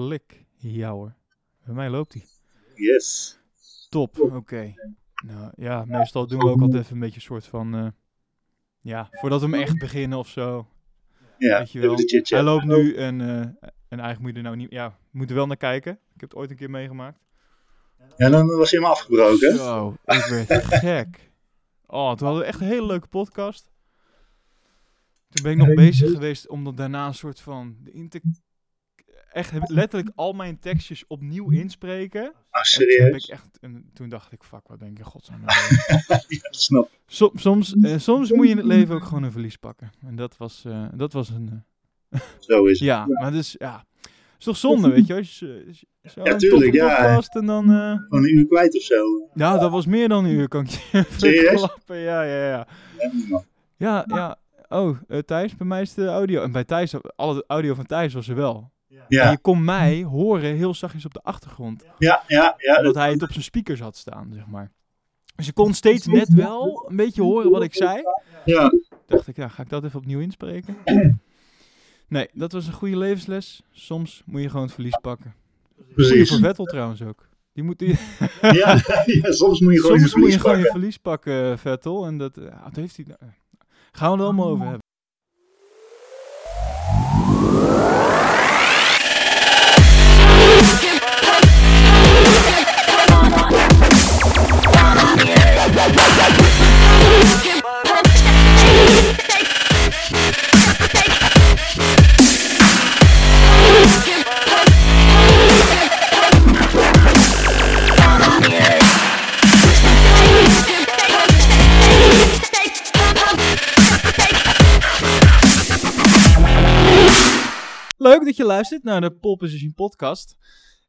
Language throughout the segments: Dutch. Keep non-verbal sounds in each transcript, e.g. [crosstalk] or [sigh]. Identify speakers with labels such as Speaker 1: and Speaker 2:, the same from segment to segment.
Speaker 1: Klik. Ja hoor. Bij mij loopt hij.
Speaker 2: Yes.
Speaker 1: Top. Oké. Nou ja, meestal doen we ook altijd even een beetje een soort van... eh, ja, voordat we hem echt beginnen of zo.
Speaker 2: Ja,
Speaker 1: Weet je
Speaker 2: even
Speaker 1: wel.
Speaker 2: de chit-chat.
Speaker 1: Hij loopt nu en, eh, en eigenlijk moet je er nou niet... Ja, we moeten wel naar kijken. Ik heb het ooit een keer meegemaakt.
Speaker 2: Ja, dan was hij hem afgebroken.
Speaker 1: Zo, ik werd gek. Oh, toen hadden we echt een hele leuke podcast. Toen ben ik nog bezig geweest om dat daarna een soort van in te... Echt heb ik letterlijk al mijn tekstjes opnieuw inspreken. En
Speaker 2: Ah,
Speaker 1: toen, heb
Speaker 2: serieus?
Speaker 1: ik echt, en toen dacht ik, fuck, wat ben ik in godsnaam [laughs] nou aan het doen?
Speaker 2: Ja, snap.
Speaker 1: Som- soms, eh, soms moet je in het leven ook gewoon een verlies pakken. En dat was, eh, dat was een... eh,
Speaker 2: Zo is het.
Speaker 1: ja, maar dus, ja... is toch zonde, weet je wel? als je zo- Zo
Speaker 2: Ja,
Speaker 1: een
Speaker 2: tuurlijk,
Speaker 1: toffe
Speaker 2: ja.
Speaker 1: podcast en dan... eh,
Speaker 2: Van een uur kwijt of zo.
Speaker 1: ja, dat was meer dan een uur, kan ik je [laughs]
Speaker 2: Serieus?
Speaker 1: verklappen. Ja, ja, ja.
Speaker 2: Ja, man.
Speaker 1: Ja, ja. Oh, eh, Thijs, bij mij is de audio. En bij Thijs, alle audio van Thijs was er wel. En
Speaker 2: ja,
Speaker 1: je kon mij horen heel zachtjes op de achtergrond.
Speaker 2: ja, ja. ja,
Speaker 1: Omdat hij het op zijn speakers had staan, zeg maar. Dus je kon steeds net wel een beetje horen wat ik zei.
Speaker 2: ja.
Speaker 1: Dacht ik, ja, ga ik dat even opnieuw inspreken? Nee, dat was een goede levensles. Soms moet je gewoon het verlies pakken. Goeie voor
Speaker 2: precies.
Speaker 1: Vettel trouwens ook. Die moet, die,
Speaker 2: Ja, [laughs] ja, soms moet je gewoon
Speaker 1: [laughs]
Speaker 2: je
Speaker 1: soms moet je
Speaker 2: verlies
Speaker 1: gewoon je
Speaker 2: pakken.
Speaker 1: verlies pakken, Vettel. En dat, eh, wat heeft hij nou? Gaan we er allemaal over hebben. Leuk dat je luistert naar de Pole Position podcast.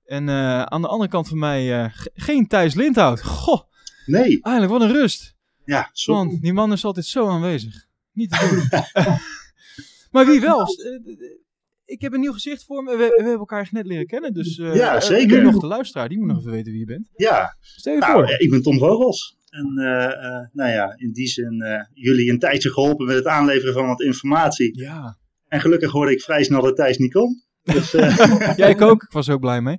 Speaker 1: En eh, aan de andere kant van mij eh, ge- geen Thijs Lindhout. Goh,
Speaker 2: Nee,
Speaker 1: eigenlijk wat een rust.
Speaker 2: ja, soms.
Speaker 1: Want die man is altijd zo aanwezig. Niet te
Speaker 2: [laughs]
Speaker 1: doen. [laughs] maar wie wel? S- eh, eh, Ik heb een nieuw gezicht voor me. We, we hebben elkaar net leren kennen. Dus eh,
Speaker 2: Ja,
Speaker 1: eh,
Speaker 2: zeker.
Speaker 1: nu nog de luisteraar. Die moet nog even weten wie je bent.
Speaker 2: Ja,
Speaker 1: Stel je
Speaker 2: nou,
Speaker 1: voor.
Speaker 2: ja, ik ben Tom Vogels. En eh, eh, nou ja, in die zin eh, jullie een tijdje geholpen met het aanleveren van wat informatie.
Speaker 1: Ja.
Speaker 2: En gelukkig hoorde ik vrij snel dat Thijs niet kon. Dus, eh,
Speaker 1: ja, ik ook. Ik was er ook blij mee.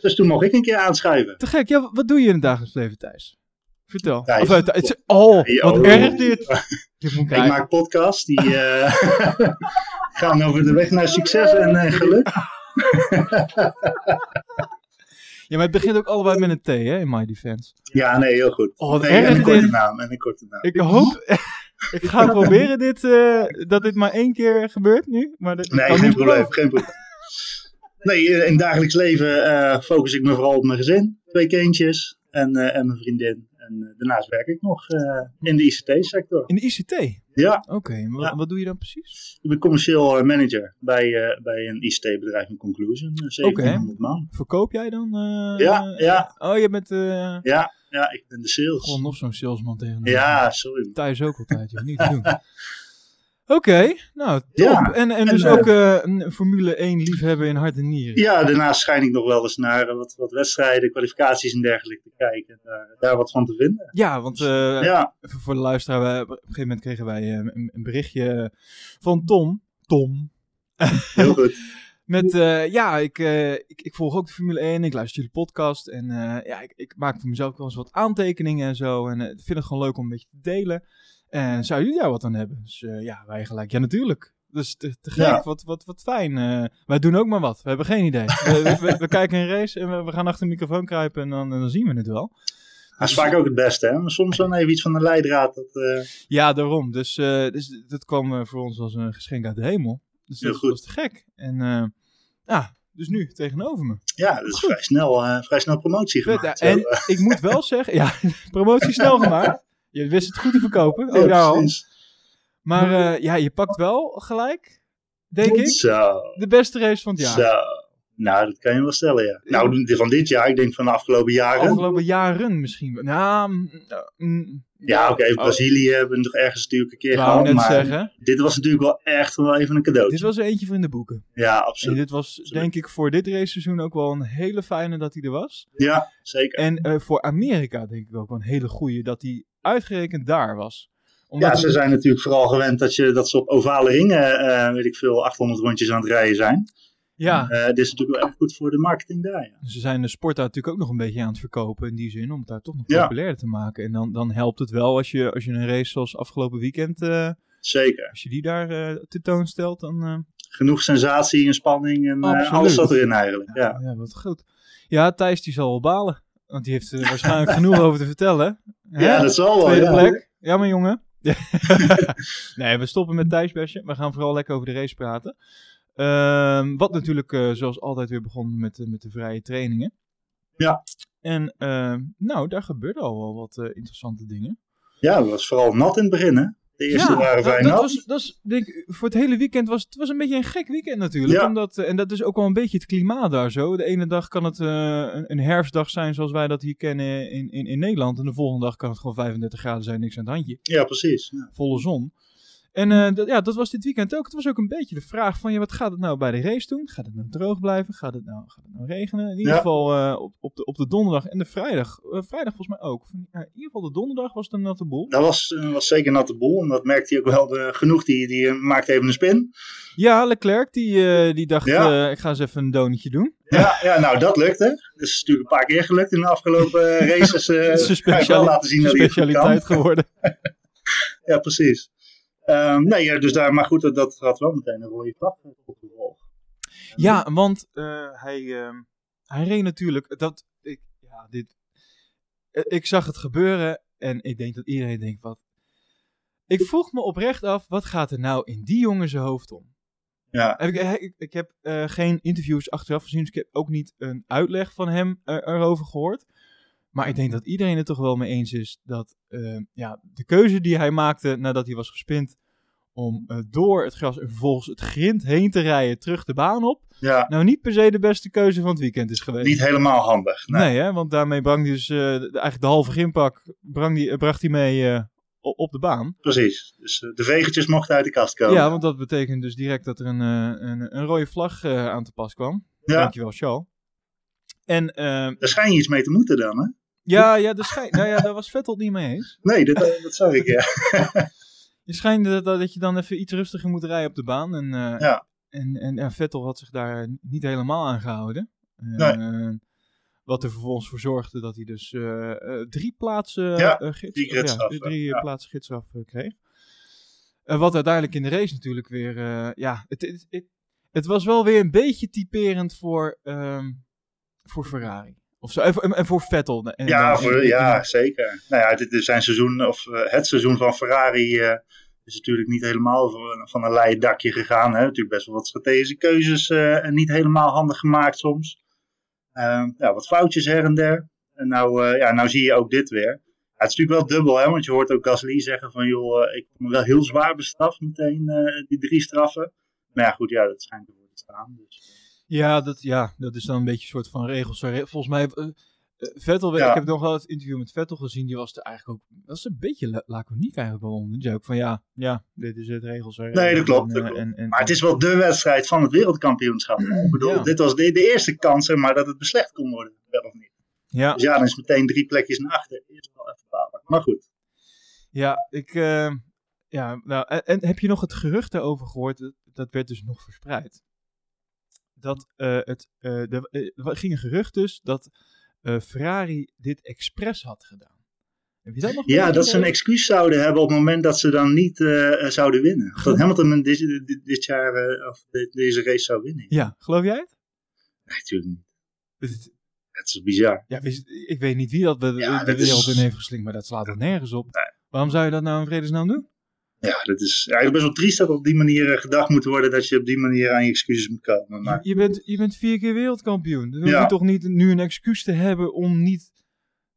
Speaker 2: dus toen mocht ik een keer aanschuiven.
Speaker 1: Te gek. Ja, wat doe je in het dagelijks leven, Thijs? Vertel.
Speaker 2: Thijs.
Speaker 1: Of, eh, Thijs- oh,
Speaker 2: Hey,
Speaker 1: wat
Speaker 2: oh.
Speaker 1: erg
Speaker 2: [laughs]
Speaker 1: dit. Je moet
Speaker 2: Ik maak podcasts die eh, [laughs] gaan over de weg naar succes en eh, geluk.
Speaker 1: Ja, maar het begint ook allebei met een T, hè, in My Defense.
Speaker 2: Ja, nee, heel goed.
Speaker 1: Oh, wat
Speaker 2: Nee, en
Speaker 1: erg
Speaker 2: een korte
Speaker 1: dit.
Speaker 2: naam en een korte naam.
Speaker 1: Ik hoop... [laughs] ik ga proberen dit, eh, dat dit maar één keer gebeurt nu. Maar dat,
Speaker 2: Nee,
Speaker 1: kan
Speaker 2: geen
Speaker 1: niet
Speaker 2: probleem,
Speaker 1: beloven.
Speaker 2: geen probleem. Nee, in het dagelijks leven eh, focus ik me vooral op mijn gezin. Twee kindjes en, eh, en mijn vriendin. En eh, daarnaast werk ik nog eh, in de ICT-sector.
Speaker 1: In de ICT?
Speaker 2: Ja,
Speaker 1: Oké, en wa-
Speaker 2: Ja.
Speaker 1: wat doe je dan precies?
Speaker 2: ik ben commercieel eh, manager bij, eh, bij een ICT-bedrijf in Conclusion. eh, 1700 man.
Speaker 1: Verkoop jij dan? eh,
Speaker 2: Ja, ja.
Speaker 1: Oh, je bent... eh,
Speaker 2: Ja, ja, ik ben de sales.
Speaker 1: gewoon nog zo'n salesman tegen de-
Speaker 2: Ja, sorry.
Speaker 1: [laughs] Thuis ook altijd, joh. Niet te doen. Oké, nou, top.
Speaker 2: Ja,
Speaker 1: En, en
Speaker 2: en,
Speaker 1: dus
Speaker 2: eh,
Speaker 1: ook eh, een Formule 1 liefhebber in hart en nieren.
Speaker 2: Ja, daarnaast schijn ik nog wel eens naar eh, wat, wat wedstrijden, kwalificaties en dergelijke te kijken. En daar, daar wat van te vinden.
Speaker 1: Ja, want eh,
Speaker 2: Ja,
Speaker 1: Even voor de luisteraar, wij- op een gegeven moment kregen wij eh, een, een berichtje van Tom. Tom.
Speaker 2: heel goed.
Speaker 1: Met, eh, ja, ik, eh, ik, ik volg ook de Formule 1, ik luister jullie podcast en eh, ja, ik, ik maak voor mezelf wel eens wat aantekeningen en zo. En eh, ik vind het gewoon leuk om een beetje te delen. En zou jullie daar wat aan hebben? Dus eh, ja, wij gelijk, ja natuurlijk. Dus te, te gek,
Speaker 2: Ja.
Speaker 1: wat, wat, wat fijn. eh, wij doen ook maar wat, we hebben geen idee. we, we- we- we kijken een race en we, we gaan achter de microfoon kruipen en dan, en dan zien we het wel.
Speaker 2: Dat is vaak ook het beste, hè? Maar soms dan even iets van de leidraad. Dat, eh,
Speaker 1: Ja, daarom. Dus, eh, dus dat kwam eh, voor ons als een geschenk uit de hemel. Dus
Speaker 2: Heel
Speaker 1: dat
Speaker 2: goed.
Speaker 1: was te gek. En eh, ja, dus nu tegenover me.
Speaker 2: Ja, dat is
Speaker 1: Goed. eh,
Speaker 2: vrij snel, eh, vrij snel promotie
Speaker 1: Vet,
Speaker 2: gemaakt. eh,
Speaker 1: ja. en ik moet wel zeggen, ja, [laughs] promotie snel gemaakt. Je wist het goed te verkopen.
Speaker 2: Ja, [laughs]
Speaker 1: Oh, ja, al.
Speaker 2: precies.
Speaker 1: Maar eh, ja, je pakt wel gelijk, denk ik,
Speaker 2: Zo,
Speaker 1: de beste race van het jaar.
Speaker 2: zo. Nou, dat kan je wel stellen, ja. Nou, d- van dit jaar, ik denk van de afgelopen jaren.
Speaker 1: Afgelopen jaren misschien. wel. Nou, mm, mm,
Speaker 2: Ja, oké,
Speaker 1: oh,
Speaker 2: Brazilië hebben we nog ergens natuurlijk een keer
Speaker 1: wou
Speaker 2: gehad.
Speaker 1: net
Speaker 2: Maar
Speaker 1: zeggen.
Speaker 2: dit was natuurlijk wel echt wel even een
Speaker 1: Dit
Speaker 2: cadeautje.
Speaker 1: was er eentje voor in de boeken.
Speaker 2: Ja,
Speaker 1: En
Speaker 2: absoluut.
Speaker 1: dit was denk ik voor dit raceseizoen ook wel een hele fijne dat hij er was.
Speaker 2: Ja, zeker.
Speaker 1: En eh, voor Amerika denk ik ook wel een hele goeie dat hij uitgerekend daar was.
Speaker 2: Ja,
Speaker 1: hij-
Speaker 2: ze zijn natuurlijk vooral gewend dat, je, dat ze op ovale ringen, eh, weet ik veel, 800 rondjes aan het rijden zijn.
Speaker 1: Ja,
Speaker 2: Eh, dit is natuurlijk wel erg goed voor de marketing daar. Ja.
Speaker 1: ze zijn de sport daar natuurlijk ook nog een beetje aan het verkopen in die zin, om het daar toch nog
Speaker 2: Ja.
Speaker 1: populairder te maken. En dan, dan helpt het wel als je, als je een race zoals afgelopen weekend, eh,
Speaker 2: Zeker.
Speaker 1: als je die daar eh tentoonstelt, dan... eh,
Speaker 2: Genoeg sensatie en spanning en eh,
Speaker 1: Absoluut.
Speaker 2: alles zat erin eigenlijk. Ja.
Speaker 1: Ja, wat goed. Ja, Thijs die zal wel balen. Want die heeft er waarschijnlijk genoeg over te vertellen.
Speaker 2: Ja,
Speaker 1: Hè?
Speaker 2: dat zal wel.
Speaker 1: Tweede
Speaker 2: ja.
Speaker 1: plek. Ja, maar jongen. [laughs] nee, we stoppen met Thijs Besje. We gaan vooral lekker over de race praten. Ehm, wat natuurlijk, eh, zoals altijd, weer begon met, de- met de vrije trainingen.
Speaker 2: Ja.
Speaker 1: En ehm, nou, daar gebeurden al wel wat eh, interessante dingen.
Speaker 2: Ja, dat was vooral nat in het begin. Hè? De eerste waren
Speaker 1: dat,
Speaker 2: vrij
Speaker 1: dat
Speaker 2: nat.
Speaker 1: was, dat is, denk ik, voor het hele weekend was het was een beetje een gek weekend natuurlijk.
Speaker 2: Ja.
Speaker 1: Omdat, eh, en dat is ook wel een beetje het klimaat daar zo. De ene dag kan het eh, een, een herfstdag zijn zoals wij dat hier kennen in, in, in Nederland. En de volgende dag kan het gewoon 35 graden zijn, niks aan het handje.
Speaker 2: Ja, precies. Ja.
Speaker 1: Volle zon.
Speaker 2: Mm.
Speaker 1: En eh, dat, ja, dat was dit weekend ook. Het was ook een beetje de vraag van, ja, wat gaat het nou bij de race doen? Gaat het nou droog blijven? Gaat het nou, gaat het nou regenen? In ieder
Speaker 2: Ja.
Speaker 1: geval eh, op, op, de, op de donderdag en de vrijdag. Eh, vrijdag volgens mij ook. Ja, in ieder geval de donderdag was het een natte boel.
Speaker 2: Dat was, eh, was zeker natte boel. En dat merkte hij ook wel de, genoeg. Die, die eh, maakte even een spin.
Speaker 1: Ja, Leclerc die, eh, die dacht,
Speaker 2: Ja.
Speaker 1: eh, ik ga eens even een donutje doen.
Speaker 2: Ja, ja, nou dat lukte. Dat is natuurlijk een paar keer gelukt in de afgelopen eh,
Speaker 1: [laughs]
Speaker 2: races. eh
Speaker 1: Dat is zijn
Speaker 2: Hij heeft wel
Speaker 1: speciali-
Speaker 2: laten zien
Speaker 1: zijn
Speaker 2: dat hij het goed kan.
Speaker 1: specialiteit geworden.
Speaker 2: Ja, precies. Ehm, nee, ja, dus daar, maar goed, dat, dat had wel meteen een rode vlag eh, op de rol.
Speaker 1: Ja, want eh, hij, ehm, hij reed natuurlijk, dat, ik, ja, dit, eh, ik zag het gebeuren en ik denk dat iedereen denkt, wat? Ik vroeg me oprecht af, wat gaat er nou in die jongen zijn hoofd om?
Speaker 2: Ja.
Speaker 1: Heb ik, eh, ik, ik heb eh, geen interviews achteraf gezien, dus ik heb ook niet een uitleg van hem eh, erover gehoord. Maar ik denk dat iedereen het toch wel mee eens is dat eh, ja, de keuze die hij maakte nadat hij was gespind om eh, door het gras en vervolgens het grind heen te rijden terug de baan op,
Speaker 2: Ja,
Speaker 1: nou niet per se de beste keuze van het weekend is geweest.
Speaker 2: niet helemaal handig. Nee.
Speaker 1: nee. hè, want daarmee brang hij dus eh, de- eigenlijk de halve grimpak brang die, eh, bracht hij mee eh, o- op de baan.
Speaker 2: Precies. Dus eh, de vegetjes mochten uit de kast komen.
Speaker 1: Ja, want dat betekent dus direct dat er een, eh, een, een rode vlag eh, aan te pas kwam.
Speaker 2: Ja,
Speaker 1: Dankjewel, Charles. En eh,
Speaker 2: daar schijn je iets mee te moeten dan, hè?
Speaker 1: ja, ja, de schijn, nou ja, daar was Vettel het niet mee eens.
Speaker 2: Nee, dat, eh, dat zag ik, ja.
Speaker 1: Je schijnt dat, dat je dan even iets rustiger moet rijden op de baan. En, eh,
Speaker 2: Ja.
Speaker 1: en, en ja, Vettel had zich daar niet helemaal aan gehouden.
Speaker 2: Nee.
Speaker 1: Eh, wat er vervolgens voor zorgde dat hij dus eh, eh, drie plaatsen
Speaker 2: Ja,
Speaker 1: eh, gids-
Speaker 2: drie
Speaker 1: of ja,
Speaker 2: gidsstraffen,
Speaker 1: drie, eh,
Speaker 2: ja.
Speaker 1: plaatsen gidsstraf eh, kreeg. Eh, wat uiteindelijk in de race natuurlijk weer... eh, ja, het, het, het, het was wel weer een beetje typerend voor, ehm, voor Ferrari. Of zo, en, voor- en- en voor Vettel. En-
Speaker 2: [laughs] Ja,
Speaker 1: en-
Speaker 2: voor,
Speaker 1: en-
Speaker 2: ja zeker. Nou ja, dit is zijn seizoen, of eh, het seizoen van Ferrari eh, is natuurlijk niet helemaal van, van een leien dakje gegaan. Hè. Natuurlijk best wel wat strategische keuzes eh, en niet helemaal handig gemaakt soms. Ehm, ja, wat foutjes her en der. En nou, eh, ja, nou zie je ook dit weer. Ja, het is natuurlijk wel dubbel, hè, want je hoort ook Gasly zeggen van joh, eh, ik heb me wel heel zwaar bestraft meteen, eh, die drie straffen. Maar ja, goed, ja, dat schijnt te worden staan. Dus.
Speaker 1: Ja dat, ja, dat is dan een beetje een soort van regels. Zo re- Volgens mij, eh, eh, Vettel,
Speaker 2: Ja.
Speaker 1: ik heb nog wel het interview met Vettel gezien, die was er eigenlijk ook, was een beetje la- laconiek eigenlijk wel onder. Die zei ook van, ja, ja, dit is het regels. hè.
Speaker 2: Nee, dat klopt,
Speaker 1: En,
Speaker 2: dat
Speaker 1: eh,
Speaker 2: klopt.
Speaker 1: en- en-
Speaker 2: Maar het is wel de wedstrijd van het wereldkampioenschap. Ik bedoel,
Speaker 1: Mm. Ja.
Speaker 2: dit was de, de eerste kans, hè, maar dat het beslecht kon worden, wel of niet.
Speaker 1: Ja,
Speaker 2: Dus ja, dan is meteen drie plekjes naar achter. Is wel even balen. Maar goed.
Speaker 1: ja, ik, eh, ja, nou, en, en heb je nog het gerucht daarover gehoord? Dat- Dat werd dus nog verspreid. Dat eh, het, eh, er eh, er ging een gerucht dus dat eh, Ferrari dit expres had gedaan. Heb je dat nog
Speaker 2: Ja, dat ze een
Speaker 1: meegekregen?
Speaker 2: excuus zouden hebben op het moment dat ze dan niet eh, zouden winnen. Dat Hamilton een- dit, dit, dit jaar, eh, of de- deze race zou winnen.
Speaker 1: Ja, geloof jij het?
Speaker 2: Nee, natuurlijk niet.
Speaker 1: Het-
Speaker 2: Het is bizar.
Speaker 1: Ja, wist- ik weet niet wie dat de,
Speaker 2: Ja,
Speaker 1: de
Speaker 2: dat is-
Speaker 1: wereld in heeft geslingerd, maar dat slaat er nergens op. Waarom zou je dat nou in vredesnaam doen?
Speaker 2: Ja, dat is ja, het is best wel triest dat op die manier eh, gedacht moet worden dat je op die manier aan je excuses moet komen. Maar
Speaker 1: Je, je bent, je bent vier keer wereldkampioen. Dan hoef
Speaker 2: Ja.
Speaker 1: je toch niet nu een excuus te hebben om niet...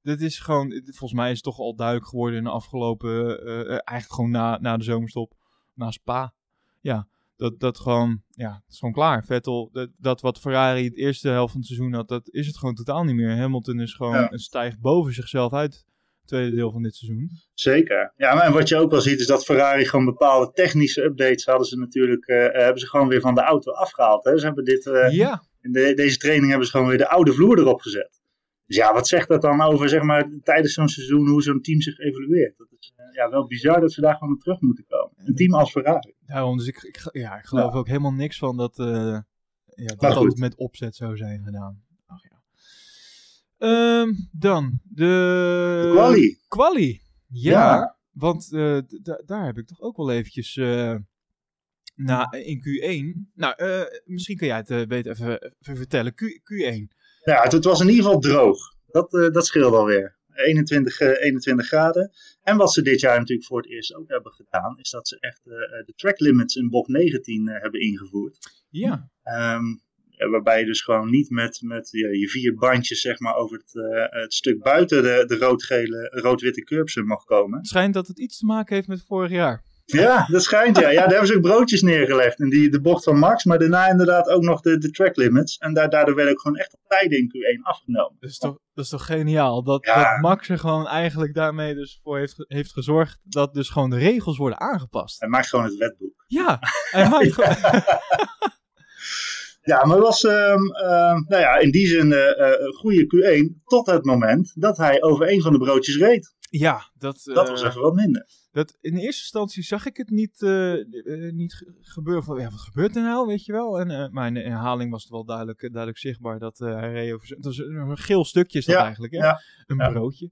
Speaker 1: Dat is gewoon... Volgens mij is het toch al duidelijk geworden in de afgelopen... eh, eh, eigenlijk gewoon na, na de zomerstop. Na Spa. Ja, dat, dat gewoon... Ja, het is gewoon klaar. Vettel, dat, dat wat Ferrari het eerste helft van het seizoen had... Dat is het gewoon totaal niet meer. Hamilton is gewoon...
Speaker 2: Ja.
Speaker 1: een stijgt boven zichzelf uit. Het tweede deel van dit seizoen.
Speaker 2: Zeker. Ja, maar en wat je ook wel ziet is dat Ferrari gewoon bepaalde technische updates hadden ze natuurlijk, eh, hebben ze gewoon weer van de auto afgehaald. Hè? Ze hebben dit, eh,
Speaker 1: ja.
Speaker 2: in de- deze training hebben ze gewoon weer de oude vloer erop gezet. Dus ja, wat zegt dat dan over, zeg maar, tijdens zo'n seizoen, hoe zo'n team zich evolueert? Dat is eh, ja, wel bizar dat ze daar gewoon op terug moeten komen. Een team als Ferrari.
Speaker 1: Daarom, dus ik, ik, ge- ja, ik geloof ook helemaal niks van dat, eh, Ja, dat
Speaker 2: Maar
Speaker 1: dat
Speaker 2: goed.
Speaker 1: het met opzet zou zijn gedaan. Ach, ja. Ehm, dan de...
Speaker 2: Quali.
Speaker 1: Quali. Ja,
Speaker 2: Ja.
Speaker 1: want eh, d- da- daar heb ik toch ook wel eventjes eh, na, eh, in Q1. Nou, eh, misschien kan jij het eh, beter even, even vertellen. Q, Q1.
Speaker 2: Nou ja, het, het was in ieder geval droog. Dat, eh, dat scheelde alweer. 21, eh, 21 graden. En wat ze dit jaar natuurlijk voor het eerst ook hebben gedaan, is dat ze echt eh, de track limits in bocht 19 eh, hebben ingevoerd.
Speaker 1: Ja,
Speaker 2: Ehm, eh, waarbij je dus gewoon niet met, met je, je vier bandjes zeg maar, over het, eh, het stuk buiten de, de rood-gele, rood-witte curbsen mag komen.
Speaker 1: het schijnt dat het iets te maken heeft met vorig jaar.
Speaker 2: Ja, dat schijnt ja. Ja, daar hebben ze ook broodjes neergelegd. En die, de bocht van Max, maar daarna inderdaad ook nog de, de track limits. En daar, daardoor werden ook gewoon echt op tijden in Q1 afgenomen.
Speaker 1: Dat is toch, dat is toch geniaal? Dat,
Speaker 2: Ja.
Speaker 1: dat Max er gewoon eigenlijk daarmee dus voor heeft, ge- heeft gezorgd dat dus gewoon de regels worden aangepast.
Speaker 2: Hij maakt gewoon het wetboek.
Speaker 1: Ja, hij maakt gewoon...
Speaker 2: Ja, maar het was ehm, ehm, nou ja, in die zin eh, eh, een goede Q1 tot het moment dat hij over een van de broodjes reed.
Speaker 1: [laughs] Ja, dat,
Speaker 2: Dat
Speaker 1: eh,
Speaker 2: was even wat minder.
Speaker 1: dat in eerste instantie zag ik het niet, eh, eh, niet ge- gebeuren. Van, ja, wat gebeurt er nou, weet je wel? En eh, maar in de herhaling was het wel duidelijk, eh, duidelijk zichtbaar dat eh, hij reed over... zijn- Het was een een geel stukje is dat
Speaker 2: Ja,
Speaker 1: eigenlijk, hè?
Speaker 2: ja,
Speaker 1: een
Speaker 2: ja.
Speaker 1: broodje.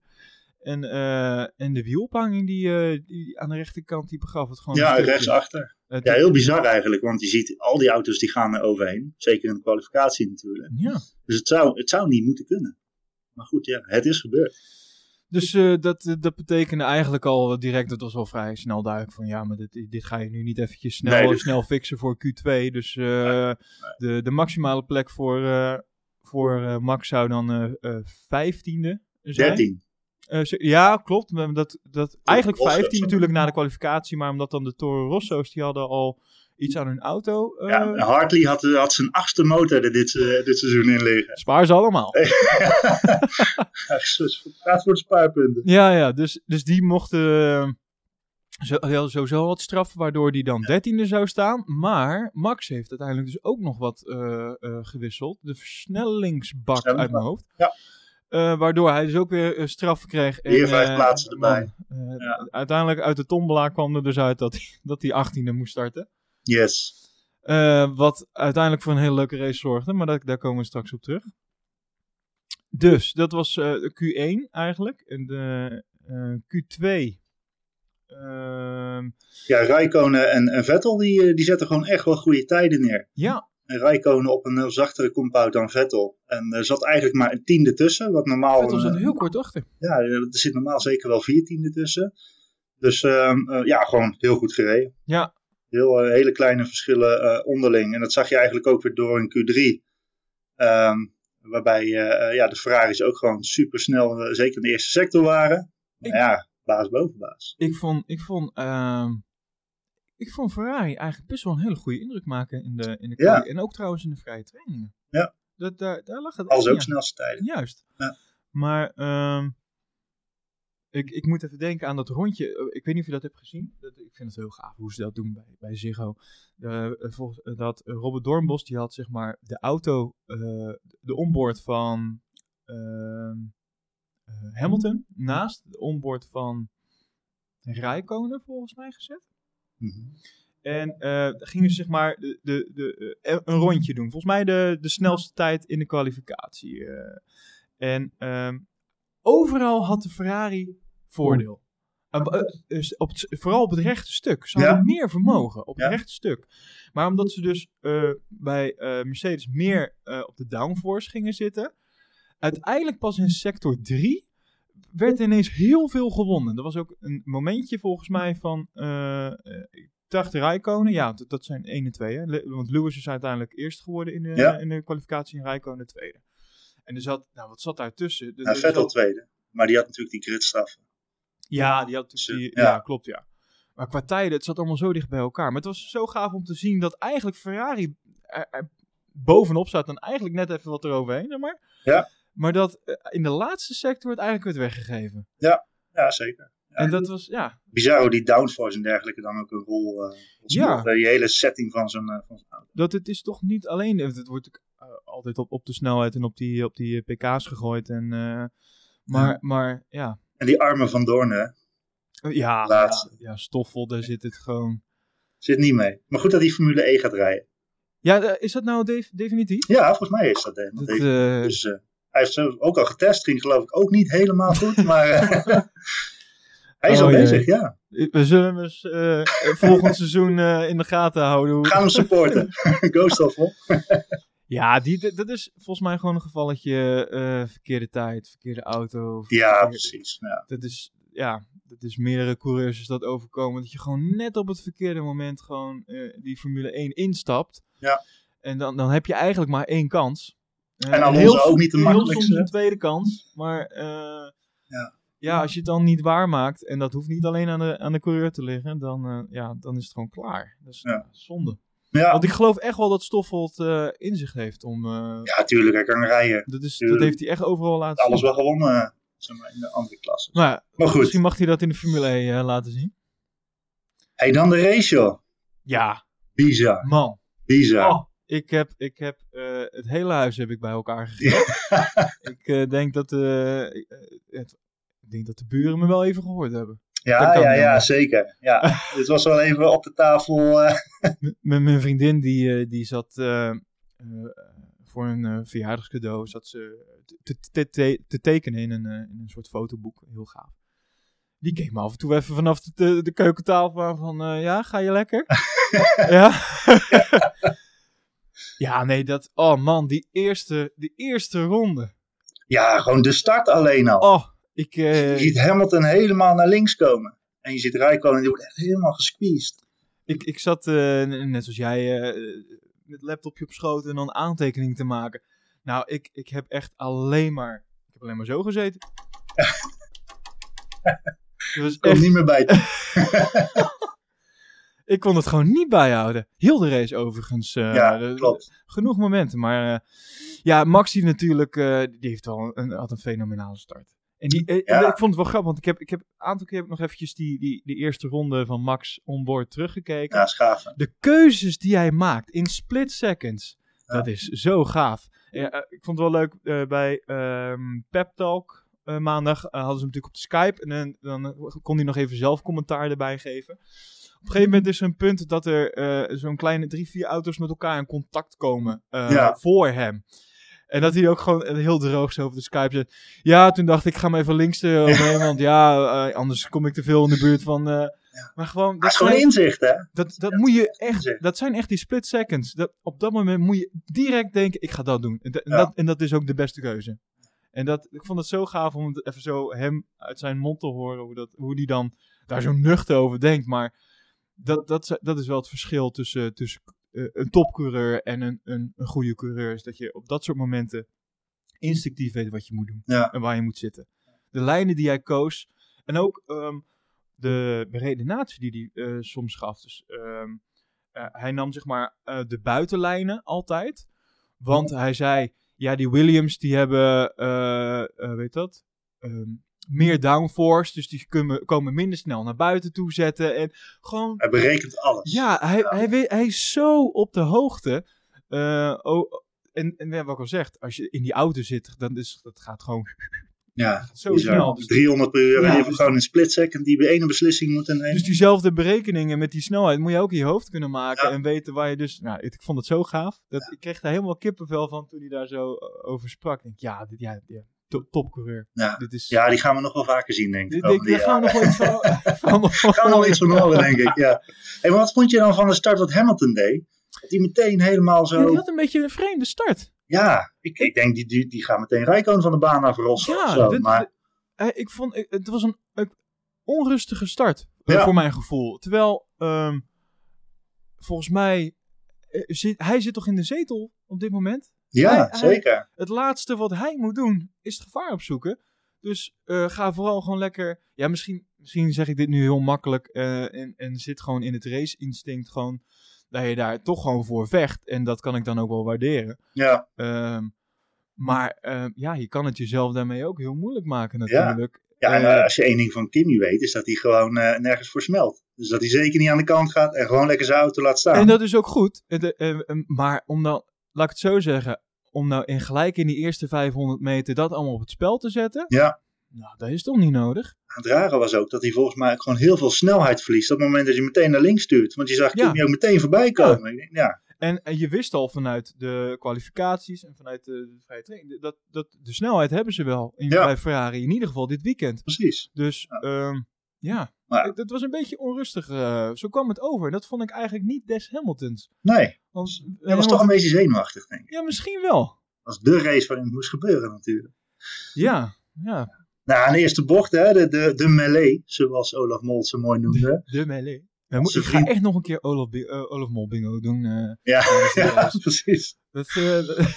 Speaker 1: En, eh, en de wielophanging die, eh, die aan de rechterkant, die begaf het gewoon
Speaker 2: Ja,
Speaker 1: een stukje.
Speaker 2: rechtsachter.
Speaker 1: Het-
Speaker 2: Ja, heel bizar eigenlijk, want je ziet al die auto's die gaan er overheen. Zeker in de kwalificatie natuurlijk.
Speaker 1: ja.
Speaker 2: Dus het zou, het zou niet moeten kunnen. Maar goed, ja, het is gebeurd.
Speaker 1: Dus eh, dat, eh, dat betekende eigenlijk al direct, dat was al vrij snel duidelijk van ja, maar dit, dit ga je nu niet eventjes snel,
Speaker 2: Nee, dus- dit-
Speaker 1: snel fixen voor Q2. Dus eh, De, de maximale plek voor, eh, voor eh, Max zou dan eh eh vijftiende zijn.
Speaker 2: 13.
Speaker 1: Eh, ze- ja, klopt. maar Dat, dat, eigenlijk
Speaker 2: Rosso's
Speaker 1: 15
Speaker 2: dan.
Speaker 1: natuurlijk na de kwalificatie, maar omdat dan de Toro Rosso's, die hadden al iets aan hun auto. eh,
Speaker 2: Ja, Hartley had, had zijn achtste motor er dit, eh, dit seizoen in liggen.
Speaker 1: Spaar ze allemaal.
Speaker 2: [laughs] Het gaat dus voor de spaarpunten.
Speaker 1: Ja, ja, dus, dus die mochten eh, zo, ja, sowieso wat straffen, waardoor die dan dertiende zou staan. Maar Max heeft uiteindelijk dus ook nog wat eh, eh, gewisseld. De versnellingsbak
Speaker 2: Versnellingsbak,
Speaker 1: uit mijn hoofd.
Speaker 2: ja.
Speaker 1: Eh, waardoor hij dus ook weer eh, straffen kreeg.
Speaker 2: Weer vijf
Speaker 1: eh,
Speaker 2: plaatsen erbij.
Speaker 1: man, eh,
Speaker 2: Ja.
Speaker 1: Uiteindelijk uit de tombola kwam er dus uit dat hij dat hij 18e moest starten.
Speaker 2: Yes.
Speaker 1: Eh, wat uiteindelijk voor een hele leuke race zorgde, maar dat, daar komen we straks op terug. Dus, dat was eh, Q1 eigenlijk. En de eh, Q2. ehm,
Speaker 2: Ja, Rijkonen en, en Vettel die, eh, die zetten gewoon echt wel goede tijden neer.
Speaker 1: ja,
Speaker 2: En Rijkonen op een heel zachtere compound dan Vettel. En er zat eigenlijk maar een tiende tussen. Wat normaal
Speaker 1: Vettel
Speaker 2: een-
Speaker 1: zat heel kort achter.
Speaker 2: Ja, eh, er zit normaal zeker wel vier tienden tussen. Dus ehm, eh, ja, gewoon heel goed gereden.
Speaker 1: Ja.
Speaker 2: Heel, eh, hele kleine verschillen eh, onderling. En dat zag je eigenlijk ook weer door in Q3. Ehm, waarbij eh, eh, ja, de Ferraris ook gewoon super snel, zeker in de eerste sector waren.
Speaker 1: Ik-
Speaker 2: Maar ja, baas boven baas.
Speaker 1: Ik vond, ik vond, ehm, ik vond Ferrari eigenlijk best wel een hele goede indruk maken in de, in de
Speaker 2: Ja.
Speaker 1: Q1. En ook trouwens in de vrije trainingen.
Speaker 2: Ja.
Speaker 1: Dat, daar, daar lag het
Speaker 2: Alles
Speaker 1: echt niet
Speaker 2: ook
Speaker 1: aan.
Speaker 2: snelste tijden.
Speaker 1: Juist.
Speaker 2: Ja.
Speaker 1: Maar ehm, ik, ik moet even denken aan dat rondje. Eh, Ik weet niet of je dat hebt gezien. Dat, ik vind het heel gaaf hoe ze dat doen bij, bij Ziggo. Eh, eh, volgens, eh, dat eh, Robert Dornbos, die had zeg maar de auto, eh, de onboard van ehm, eh, Hamilton,
Speaker 2: Mhm.
Speaker 1: naast de onboard van Rijkonen volgens mij gezet.
Speaker 2: Mhm.
Speaker 1: En eh, gingen ze zeg maar de, de, de, eh, een rondje doen. Volgens mij de, de snelste tijd in de kwalificatie. eh. En ehm, overal had de Ferrari voordeel.
Speaker 2: Oh.
Speaker 1: Eh, eh, dus op het, vooral op het rechte stuk. Ze
Speaker 2: Ja.
Speaker 1: hadden meer vermogen op het
Speaker 2: Ja.
Speaker 1: rechte stuk. Maar omdat ze dus eh, bij eh, Mercedes meer eh, op de downforce gingen zitten. Uiteindelijk pas in sector 3 werd ineens heel veel gewonnen. Er was ook een momentje volgens mij van... eh, eh, ik dacht Rijkonen, ja, dat- dat zijn 1 en 2. Hè? Le- Want Lewis is uiteindelijk eerst geworden in de,
Speaker 2: Ja.
Speaker 1: in de kwalificatie en Rijkonen tweede. En er zat, nou wat zat daar tussen? Er-
Speaker 2: Nou,
Speaker 1: er
Speaker 2: Vettel
Speaker 1: zat-
Speaker 2: tweede. Maar die had natuurlijk die gridstraf.
Speaker 1: ja, die had natuurlijk
Speaker 2: Ze-
Speaker 1: die, ja.
Speaker 2: ja.
Speaker 1: klopt, ja. Maar qua tijden, het zat allemaal zo dicht bij elkaar. Maar het was zo gaaf om te zien dat eigenlijk Ferrari er, er bovenop zat en eigenlijk net even wat eroverheen, zeg maar.
Speaker 2: Ja.
Speaker 1: Maar dat eh, in de laatste sector het eigenlijk werd weggegeven.
Speaker 2: Ja, zeker. Ja.
Speaker 1: En dat was, ja,
Speaker 2: Bizar hoe die downforce en dergelijke dan ook een rol eh
Speaker 1: Ja.
Speaker 2: speelt. Die hele setting van zo'n eh, van zo'n auto.
Speaker 1: dat het is toch niet alleen, het wordt eh, altijd op, op de snelheid en op die, op die eh, pk's gegooid. En, eh, maar,
Speaker 2: Ja.
Speaker 1: maar, ja. Eh,
Speaker 2: En die armen van Doorn, hè,
Speaker 1: Ja, ja,
Speaker 2: Laatste.
Speaker 1: ja, Stoffel, daar zit het gewoon.
Speaker 2: Zit niet mee. Maar goed dat hij Formule E gaat rijden.
Speaker 1: Ja, eh, is dat nou def- definitief?
Speaker 2: Ja, volgens mij is dat helemaal
Speaker 1: Dat,
Speaker 2: tegen.
Speaker 1: eh,
Speaker 2: Dus eh, hij heeft zelf ook al getest, ging geloof ik ook niet helemaal
Speaker 1: [laughs]
Speaker 2: goed, maar eh, [laughs] hij is
Speaker 1: Oh,
Speaker 2: al
Speaker 1: jee.
Speaker 2: bezig, ja.
Speaker 1: we zullen hem eens eh, volgend seizoen eh, in de gaten houden. hoe-
Speaker 2: Ga hem
Speaker 1: [laughs]
Speaker 2: supporten. [laughs] Go Stoffel.
Speaker 1: Ja, die, dat- dat is volgens mij gewoon een gevalletje eh, verkeerde tijd, verkeerde auto.
Speaker 2: Ja,
Speaker 1: verkeerde-
Speaker 2: precies. Ja.
Speaker 1: dat is, ja, dat is meerdere coureurs is dat overkomen. Dat je gewoon net op het verkeerde moment gewoon eh, die Formule 1 instapt.
Speaker 2: Ja.
Speaker 1: En dan, dan heb je eigenlijk maar één kans. Eh,
Speaker 2: En Alonso
Speaker 1: heel-
Speaker 2: ook niet de
Speaker 1: Heel
Speaker 2: makkelijkste.
Speaker 1: soms een tweede kans. Maar eh,
Speaker 2: Ja.
Speaker 1: ja. als je het dan niet waarmaakt, en dat hoeft niet alleen aan de, aan de coureur te liggen, dan, eh, ja, dan is het gewoon klaar. Dat is
Speaker 2: Ja.
Speaker 1: zonde.
Speaker 2: Ja,
Speaker 1: Want ik geloof echt wel dat Stoffelt eh, in zich heeft om... eh,
Speaker 2: ja, tuurlijk, hij kan rijden.
Speaker 1: dat, is, dat
Speaker 2: tuurlijk.
Speaker 1: heeft hij echt overal laten
Speaker 2: Alles
Speaker 1: zien.
Speaker 2: wel gewonnen eh, zeg maar, in de andere klasse.
Speaker 1: Maar ja,
Speaker 2: Maar goed,
Speaker 1: misschien mag hij dat in de Formule 1 eh, laten zien.
Speaker 2: hey, dan de race, joh.
Speaker 1: Ja,
Speaker 2: Bizar,
Speaker 1: man.
Speaker 2: bizar.
Speaker 1: Oh, ik heb, ik heb eh, het hele huis heb ik bij elkaar gegeven. ik, eh, denk dat, eh, eh, het- ik denk dat de buren me wel even gehoord hebben.
Speaker 2: ja,
Speaker 1: dat kan
Speaker 2: ja,
Speaker 1: wel.
Speaker 2: ja, zeker.
Speaker 1: [laughs]
Speaker 2: Ja. Dit was wel even op de tafel. eh,
Speaker 1: M- Mijn mijn vriendin die, eh, die zat eh, eh, voor een eh, verjaardagscadeau zat ze te, te, te, te tekenen in een, eh, in een soort fotoboek. Heel gaaf. Die keek me af en toe even vanaf de, de, de keukentafel aan van, eh, ja, ga je lekker? ja. [laughs] ja, nee, dat, oh man, die eerste, die eerste ronde.
Speaker 2: ja, gewoon de start alleen al.
Speaker 1: Oh, ik, eh,
Speaker 2: Je ziet Hamilton helemaal naar links komen. En je ziet Rijkoon en die wordt echt helemaal gesqueezed.
Speaker 1: ik, ik zat, eh, n- net zoals jij, eh, met het laptopje op schoot en dan aantekening te maken. Nou, ik, ik heb echt alleen maar, ik heb alleen maar zo gezeten.
Speaker 2: [laughs]
Speaker 1: Het was
Speaker 2: Komt
Speaker 1: echt,
Speaker 2: niet meer bij.
Speaker 1: ik kon het gewoon niet bijhouden. Heel de race overigens. eh,
Speaker 2: ja,
Speaker 1: de-
Speaker 2: klopt.
Speaker 1: Genoeg momenten, maar eh, ja, Maxi natuurlijk, eh, die heeft wel een, had een fenomenale start. En die, eh,
Speaker 2: Ja.
Speaker 1: ik vond het wel grappig, want ik heb, ik heb een aantal keer heb ik nog eventjes die, die, die eerste ronde van Max onboard teruggekeken.
Speaker 2: Ja, schaven.
Speaker 1: de keuzes die hij maakt in split seconds.
Speaker 2: Ja.
Speaker 1: Dat is zo gaaf. Ja, eh, ik vond het wel leuk eh, bij ehm Pep Talk eh, maandag. eh, hadden ze hem natuurlijk op de Skype. En dan- dan kon hij nog even zelf commentaar erbij geven. Op een gegeven moment is er een punt dat er eh, zo'n kleine drie, vier auto's met elkaar in contact komen eh,
Speaker 2: Ja.
Speaker 1: voor hem. En dat hij ook gewoon eh, heel droog zo over de Skype zit. Ja, toen dacht ik, ik ga hem even links eh, overheen. want ja, eh, anders kom ik te veel in de buurt van... eh, Maar gewoon,
Speaker 2: Dat
Speaker 1: dat
Speaker 2: is gewoon
Speaker 1: zijn-
Speaker 2: inzicht, hè?
Speaker 1: dat, dat
Speaker 2: Ja,
Speaker 1: moet je
Speaker 2: inzicht.
Speaker 1: echt, dat zijn echt die split seconds. Dat, op dat moment moet je direct denken, ik ga dat doen. En, dat- en
Speaker 2: Ja.
Speaker 1: dat, en dat is ook de beste keuze. En dat, ik vond het zo gaaf om het even zo hem uit zijn mond te horen, hoe, dat, hoe die dan daar zo nuchter over denkt. Maar dat, dat, is- dat is wel het verschil tussen, tussen eh, een topcoureur en een, een, een goede coureur. Is dat je op dat soort momenten instinctief weet wat je moet doen
Speaker 2: Ja.
Speaker 1: en waar je moet zitten. De lijnen die hij koos en ook ehm, de redenatie die hij eh, soms gaf. Dus ehm, eh, hij nam zeg maar eh, de buitenlijnen altijd. Want hij zei, ja die Williams die hebben, eh, eh, weet dat, ehm, meer downforce. Dus die kunnen, komen minder snel naar buiten toe zetten. En gewoon
Speaker 2: Hij berekent alles.
Speaker 1: ja, hij, Hij, weet, hij is zo op de hoogte. Eh, oh, en, en ja, wat ik al zeg, als je in die auto zit, dan is, dat gaat gewoon
Speaker 2: Ja,
Speaker 1: zo
Speaker 2: bizar.
Speaker 1: snel. Dus,
Speaker 2: 300 per uur. en
Speaker 1: Ja,
Speaker 2: die hebben
Speaker 1: dus-
Speaker 2: gewoon een split second die we ene beslissing moeten nemen.
Speaker 1: dus diezelfde berekeningen met die snelheid moet je ook in je hoofd kunnen maken.
Speaker 2: Ja.
Speaker 1: En weten waar je dus... Nou, ik, ik vond het zo gaaf. Dat, Ik kreeg daar helemaal kippenvel van toen hij daar zo eh, over sprak. Ik denk, ja, dit, ja, ja to- topcoureur.
Speaker 2: Ja.
Speaker 1: Dit is...
Speaker 2: ja, die gaan we nog wel vaker zien, denk
Speaker 1: dit,
Speaker 2: ik.
Speaker 1: dit,
Speaker 2: komende
Speaker 1: dit gaan we nog wel iets
Speaker 2: [laughs]
Speaker 1: van... [laughs] van
Speaker 2: jaren. gaan we nog iets
Speaker 1: [laughs]
Speaker 2: van horen, denk ik. Ja. En wat vond je dan van de start wat Hamilton deed? Dat hij meteen helemaal
Speaker 1: Ja, die
Speaker 2: zo...
Speaker 1: had een beetje een vreemde start.
Speaker 2: Ja, ik, ik denk die, die, die gaat meteen Rijkoon van de baan afrossen. of zo,
Speaker 1: dit-
Speaker 2: maar
Speaker 1: dit- eh, ik vond, ik- het was een, een onrustige start
Speaker 2: Ja.
Speaker 1: eh, voor mijn gevoel. Terwijl, ehm, volgens mij, eh, zit, hij zit toch in de zetel op dit moment?
Speaker 2: ja,
Speaker 1: hij- hij-
Speaker 2: zeker.
Speaker 1: Het laatste wat hij moet doen is het gevaar opzoeken. Dus eh, ga vooral gewoon lekker. Ja, misschien, misschien zeg ik dit nu heel makkelijk. eh, en, en zit gewoon in het race-instinct. Gewoon dat je daar toch gewoon voor vecht. En dat kan ik dan ook wel waarderen.
Speaker 2: Ja,
Speaker 1: Ehm, maar ehm, ja, je kan het jezelf daarmee ook heel moeilijk maken
Speaker 2: Ja.
Speaker 1: natuurlijk.
Speaker 2: ja en
Speaker 1: Eh,
Speaker 2: eh, als je één ding van Kimmy weet, is dat hij gewoon eh, nergens voor smelt. Dus dat hij zeker niet aan de kant gaat en gewoon lekker zijn auto laat staan.
Speaker 1: En dat is ook goed. Het, eh, eh, eh, maar om dan, laat ik het zo zeggen, om nou in gelijk in die eerste 500 meter dat allemaal op het spel te zetten.
Speaker 2: Ja.
Speaker 1: Nou, dat is toch niet nodig?
Speaker 2: het rare was ook dat hij volgens mij ook gewoon heel veel snelheid verliest. Op het moment dat je meteen naar links stuurt. Want je zag
Speaker 1: Ja.
Speaker 2: Kimi ook meteen voorbij komen. Ik denk, Ja,
Speaker 1: En, en je wist al vanuit de kwalificaties en vanuit de, de vrije training, dat, dat de snelheid hebben ze wel in,
Speaker 2: Ja.
Speaker 1: bij Ferrari, in ieder geval dit weekend.
Speaker 2: Precies.
Speaker 1: Dus ehm, ja,
Speaker 2: Ja.
Speaker 1: Het- het was een beetje onrustig. eh, zo kwam het over. En dat vond ik eigenlijk niet Des Hamiltons.
Speaker 2: Nee,
Speaker 1: Want, eh,
Speaker 2: hij was toch een beetje zenuwachtig, denk ik.
Speaker 1: Ja, misschien wel.
Speaker 2: Dat was de race waarin het moest gebeuren natuurlijk.
Speaker 1: Ja, ja.
Speaker 2: Nou, aan de eerste bocht, hè, de, de, de melee, zoals Olaf Mol ze mooi noemde.
Speaker 1: De melee. We moeten- ik ga
Speaker 2: vriend-
Speaker 1: echt nog een keer Olaf, Bi- eh, Olaf Mol bingo doen. eh.
Speaker 2: Ja,
Speaker 1: dat is-
Speaker 2: [laughs] ja, precies.
Speaker 1: dat,
Speaker 2: [laughs]
Speaker 1: eh,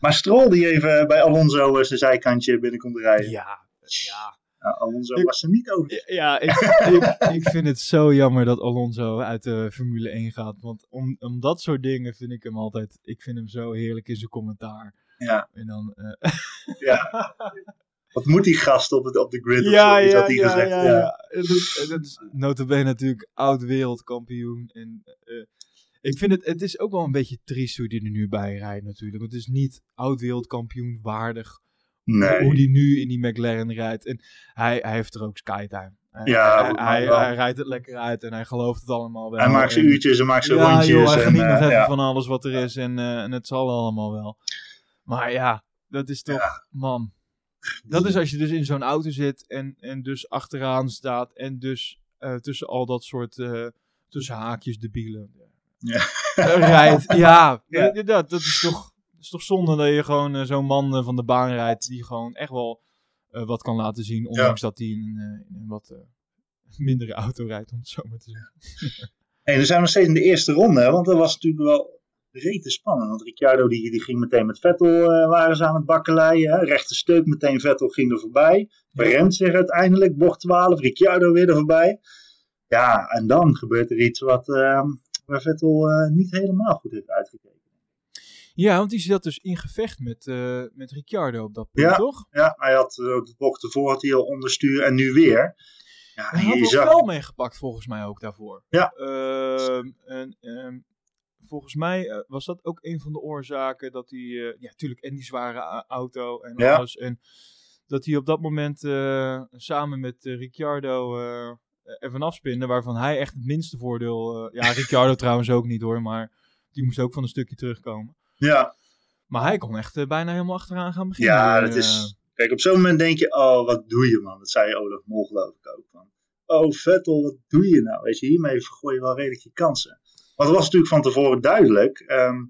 Speaker 2: Maar Stroll die even bij Alonso eh, zijn zijkantje binnen kon rijden.
Speaker 1: ja, ja.
Speaker 2: Nou, Alonso
Speaker 1: Ik-
Speaker 2: was er niet over.
Speaker 1: Ja, ik, ik, ik vind het zo jammer dat Alonso uit de Formule 1 gaat. Want om, om dat soort dingen vind ik hem altijd... Ik vind hem zo heerlijk in zijn commentaar.
Speaker 2: Ja.
Speaker 1: En dan... eh,
Speaker 2: Wat moet die gast op, het, op de grid? of
Speaker 1: ja,
Speaker 2: zo, iets
Speaker 1: ja,
Speaker 2: had hij
Speaker 1: ja,
Speaker 2: gezegd.
Speaker 1: ja,
Speaker 2: Ja.
Speaker 1: ja. Het is- het is Notabene natuurlijk oud wereldkampioen. En, eh, ik vind het, het is ook wel een beetje triest hoe die er nu bij rijdt natuurlijk. Want het is niet oud wereldkampioen waardig hoe
Speaker 2: Nee.
Speaker 1: die nu in die McLaren rijdt. En hij, hij heeft er ook skytime. Hij-
Speaker 2: Ja,
Speaker 1: hij-
Speaker 2: goed, maar
Speaker 1: hij,
Speaker 2: wel.
Speaker 1: hij rijdt het lekker uit en hij gelooft het allemaal wel.
Speaker 2: Hij maakt zijn
Speaker 1: En-
Speaker 2: uurtjes, hij maakt zijn
Speaker 1: ja,
Speaker 2: rondjes.
Speaker 1: Joh, hij
Speaker 2: en,
Speaker 1: geniet nog
Speaker 2: eh,
Speaker 1: even
Speaker 2: ja.
Speaker 1: van alles wat er is en, eh, en het zal allemaal wel. Maar ja, dat is toch, man. Dat is als je dus in zo'n auto zit en, en dus achteraan staat en dus eh, tussen al dat soort, eh, tussen haakjes debielen
Speaker 2: Ja.
Speaker 1: eh,
Speaker 2: [laughs]
Speaker 1: rijdt. Ja,
Speaker 2: Ja.
Speaker 1: eh, Dat, dat is toch, dat is toch zonde dat je gewoon eh, zo'n man eh, van de baan rijdt die gewoon echt wel eh, wat kan laten zien. Ondanks dat hij in, eh, in een wat eh, [laughs] mindere auto rijdt, om het zo maar te zeggen.
Speaker 2: Hey, dan zijn we nog steeds in de eerste ronde, hè, want dat was natuurlijk wel rete spannend. Want Ricciardo die, die ging meteen met Vettel, eh, waren ze aan het bakkeleien. hè. Rechte steuk meteen, Vettel ging er voorbij. Brent zich uiteindelijk, bocht 12, Ricciardo weer er voorbij. Ja, en dan gebeurt er iets wat, eh, waar Vettel eh, niet helemaal goed heeft uitgekeken.
Speaker 1: Ja, want die zat dus in gevecht met, eh, met Ricciardo op dat punt,
Speaker 2: Ja.
Speaker 1: toch?
Speaker 2: Ja, hij had eh, de bocht ervoor had hij al onderstuur en nu weer. Ah, Ja, en
Speaker 1: Hij had
Speaker 2: je
Speaker 1: wel
Speaker 2: zag-
Speaker 1: vuil meegepakt volgens mij ook daarvoor.
Speaker 2: Ja.
Speaker 1: Ehm, en, ehm, volgens mij eh, was dat ook een van de oorzaken dat hij... eh, ja, tuurlijk, en die zware a- auto en
Speaker 2: Ja.
Speaker 1: alles. En dat hij op dat moment eh, samen met eh, Ricciardo eh ervan afspinde, waarvan hij echt het minste voordeel... eh, ja,
Speaker 2: [laughs]
Speaker 1: Ricciardo trouwens ook niet hoor, maar die moest ook van een stukje terugkomen.
Speaker 2: ja,
Speaker 1: Maar hij kon echt eh, bijna helemaal achteraan gaan beginnen.
Speaker 2: Ja,
Speaker 1: Eh,
Speaker 2: dat is. Kijk, op zo'n moment denk je: oh, wat doe je, man? Dat zei Olaf Mol, geloof ik ook. Van, oh, Vettel, wat doe je nou? Weet je, hiermee vergooi je wel redelijk je kansen. Want het was natuurlijk van tevoren duidelijk. ehm,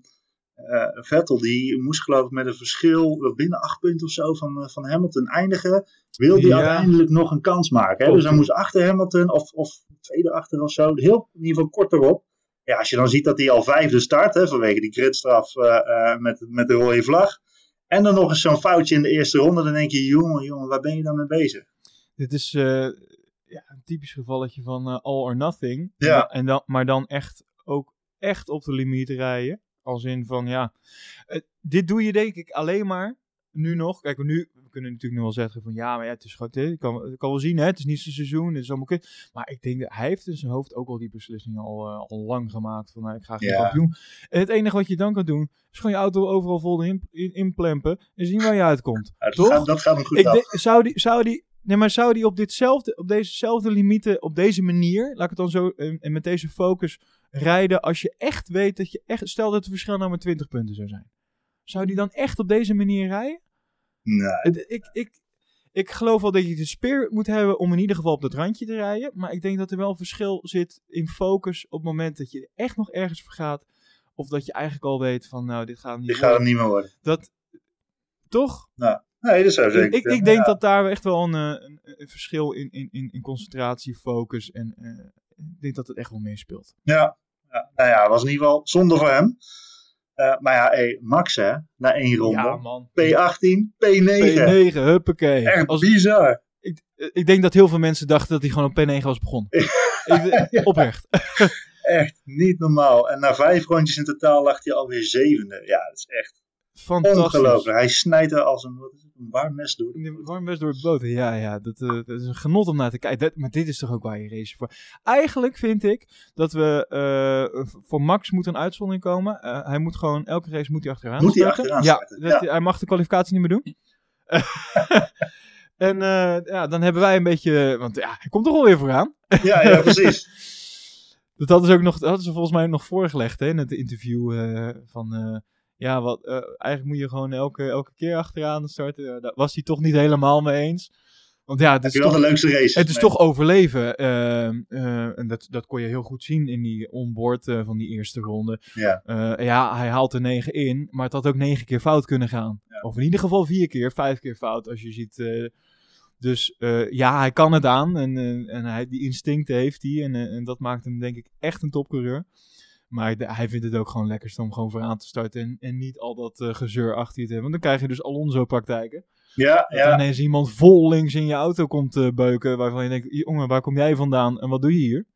Speaker 2: eh, Vettel die moest, geloof ik, met een verschil eh, binnen acht punten of zo van, eh, van Hamilton eindigen. Wil die
Speaker 1: Ja.
Speaker 2: uiteindelijk nog een kans maken? Hè?
Speaker 1: Klopt.
Speaker 2: Dus hij moest achter Hamilton of, of tweede achter of zo. Heel, in ieder geval kort erop. Ja, als je dan ziet dat hij al vijfde start, hè, vanwege die gridstraf eh, eh, met, met de rode vlag. En dan nog eens zo'n foutje in de eerste ronde. Dan denk je, jongen, jongen, waar ben je dan mee bezig?
Speaker 1: Dit is eh, ja, een typisch gevalletje van eh, all or nothing.
Speaker 2: Ja.
Speaker 1: En dan- En dan, maar dan echt ook echt op de limiet rijden. Als in van ja, eh, dit doe je denk ik alleen maar nu nog. Kijk, nu we kunnen natuurlijk nu wel zeggen van ja, maar ja, het is gewoon, ik kan, ik kan wel zien, hè, het is niet zijn seizoen, het is allemaal kut. Maar ik denk dat hij heeft in zijn hoofd ook al die beslissing al, eh, al lang gemaakt van nou, ik ga geen
Speaker 2: Ja.
Speaker 1: kampioen. En het enige wat je dan kan doen is gewoon je auto overal vol in, in, inplempen en zien waar je uitkomt.
Speaker 2: Ja, dat,
Speaker 1: Toch?
Speaker 2: gaat, dat gaat hem goed
Speaker 1: Ik
Speaker 2: af.
Speaker 1: denk- zou die, zou die, nee, maar zou die op, ditzelfde, op dezezelfde limieten, op deze manier, laat ik het dan zo, en, en met deze focus rijden, als je echt weet dat je echt, stel dat het verschil nou maar 20 punten zou zijn. Zou die dan echt op deze manier rijden?
Speaker 2: Nee.
Speaker 1: Het- Ik, ik, ik geloof wel dat je de speer moet hebben om in ieder geval op dat randje te rijden, maar ik denk dat er wel een verschil zit in focus op het moment dat je echt nog ergens vergaat, of dat je eigenlijk al weet van, nou, dit gaat hem
Speaker 2: Dit
Speaker 1: niet
Speaker 2: gaat hem
Speaker 1: worden.
Speaker 2: niet meer worden.
Speaker 1: Dat, toch?
Speaker 2: Nee, dat zou zeker
Speaker 1: Ik, ik,
Speaker 2: kunnen.
Speaker 1: ik denk dat daar echt wel een, eh, een, een verschil in, in, in, in concentratie, focus en eh, ik denk dat het echt wel meespeelt.
Speaker 2: Ja, ja. nou ja, was in ieder geval zonde voor hem. Eh, maar ja, hey, Max hè, na één
Speaker 1: Ja,
Speaker 2: ronde.
Speaker 1: man.
Speaker 2: P18, P9.
Speaker 1: P9, huppakee.
Speaker 2: Echt
Speaker 1: Als,
Speaker 2: bizar.
Speaker 1: ik, ik denk dat heel veel mensen dachten dat hij gewoon op P9 was begonnen. ik, eh, oprecht. [laughs]
Speaker 2: Echt niet normaal. En na vijf rondjes in totaal lag hij alweer zevende. Ja, dat is echt
Speaker 1: Fantastisch.
Speaker 2: ongelooflijk. Hij snijdt er als een, wat is het, een warm mes door.
Speaker 1: Warm West door het boten. Ja, ja dat, eh, dat is een genot om naar te kijken. Dat- maar dit is toch ook waar je race voor. Eigenlijk vind ik dat we eh, v- voor Max moet een uitzondering komen. Eh, hij moet gewoon elke race moet hij achteraan.
Speaker 2: Moet hij
Speaker 1: starten.
Speaker 2: achteraan
Speaker 1: ja,
Speaker 2: starten,
Speaker 1: dat- Hij mag de kwalificatie niet meer doen. [laughs] en eh, ja, dan hebben wij een beetje, want ja, hij komt toch alweer vooraan.
Speaker 2: Ja, ja, precies.
Speaker 1: Dat hadden ze, ook nog, dat hadden ze volgens mij ook nog voorgelegd hè, in het interview. eh, van eh, ja, wat, eh, eigenlijk moet je gewoon elke, elke keer achteraan starten. Eh, daar was hij toch niet helemaal mee eens. Want ja, [laughs] het
Speaker 2: Heb
Speaker 1: is
Speaker 2: je wel
Speaker 1: toch,
Speaker 2: de leukste race?
Speaker 1: het is
Speaker 2: Nee.
Speaker 1: toch overleven. eh, eh, en dat, dat kon je heel goed zien in die onboard eh, van die eerste ronde.
Speaker 2: Ja.
Speaker 1: Eh, ja, hij haalt er negen in, maar het had ook negen keer fout kunnen gaan.
Speaker 2: Ja.
Speaker 1: Of in ieder geval vier keer, vijf keer fout als je ziet. eh. dus eh, ja, hij kan het aan en, eh, en hij, die instincten heeft hij en, eh, en dat maakt hem denk ik echt een topcoureur. Maar de- hij vindt het ook gewoon lekkerst om gewoon vooraan te starten en, en niet al dat eh, gezeur achter je te hebben. Want dan krijg je dus Alonso-praktijken.
Speaker 2: Ja,
Speaker 1: Dat
Speaker 2: ja.
Speaker 1: ineens iemand vol links in je auto komt eh, beuken waarvan je denkt, jongen, waar kom jij vandaan en wat doe je hier?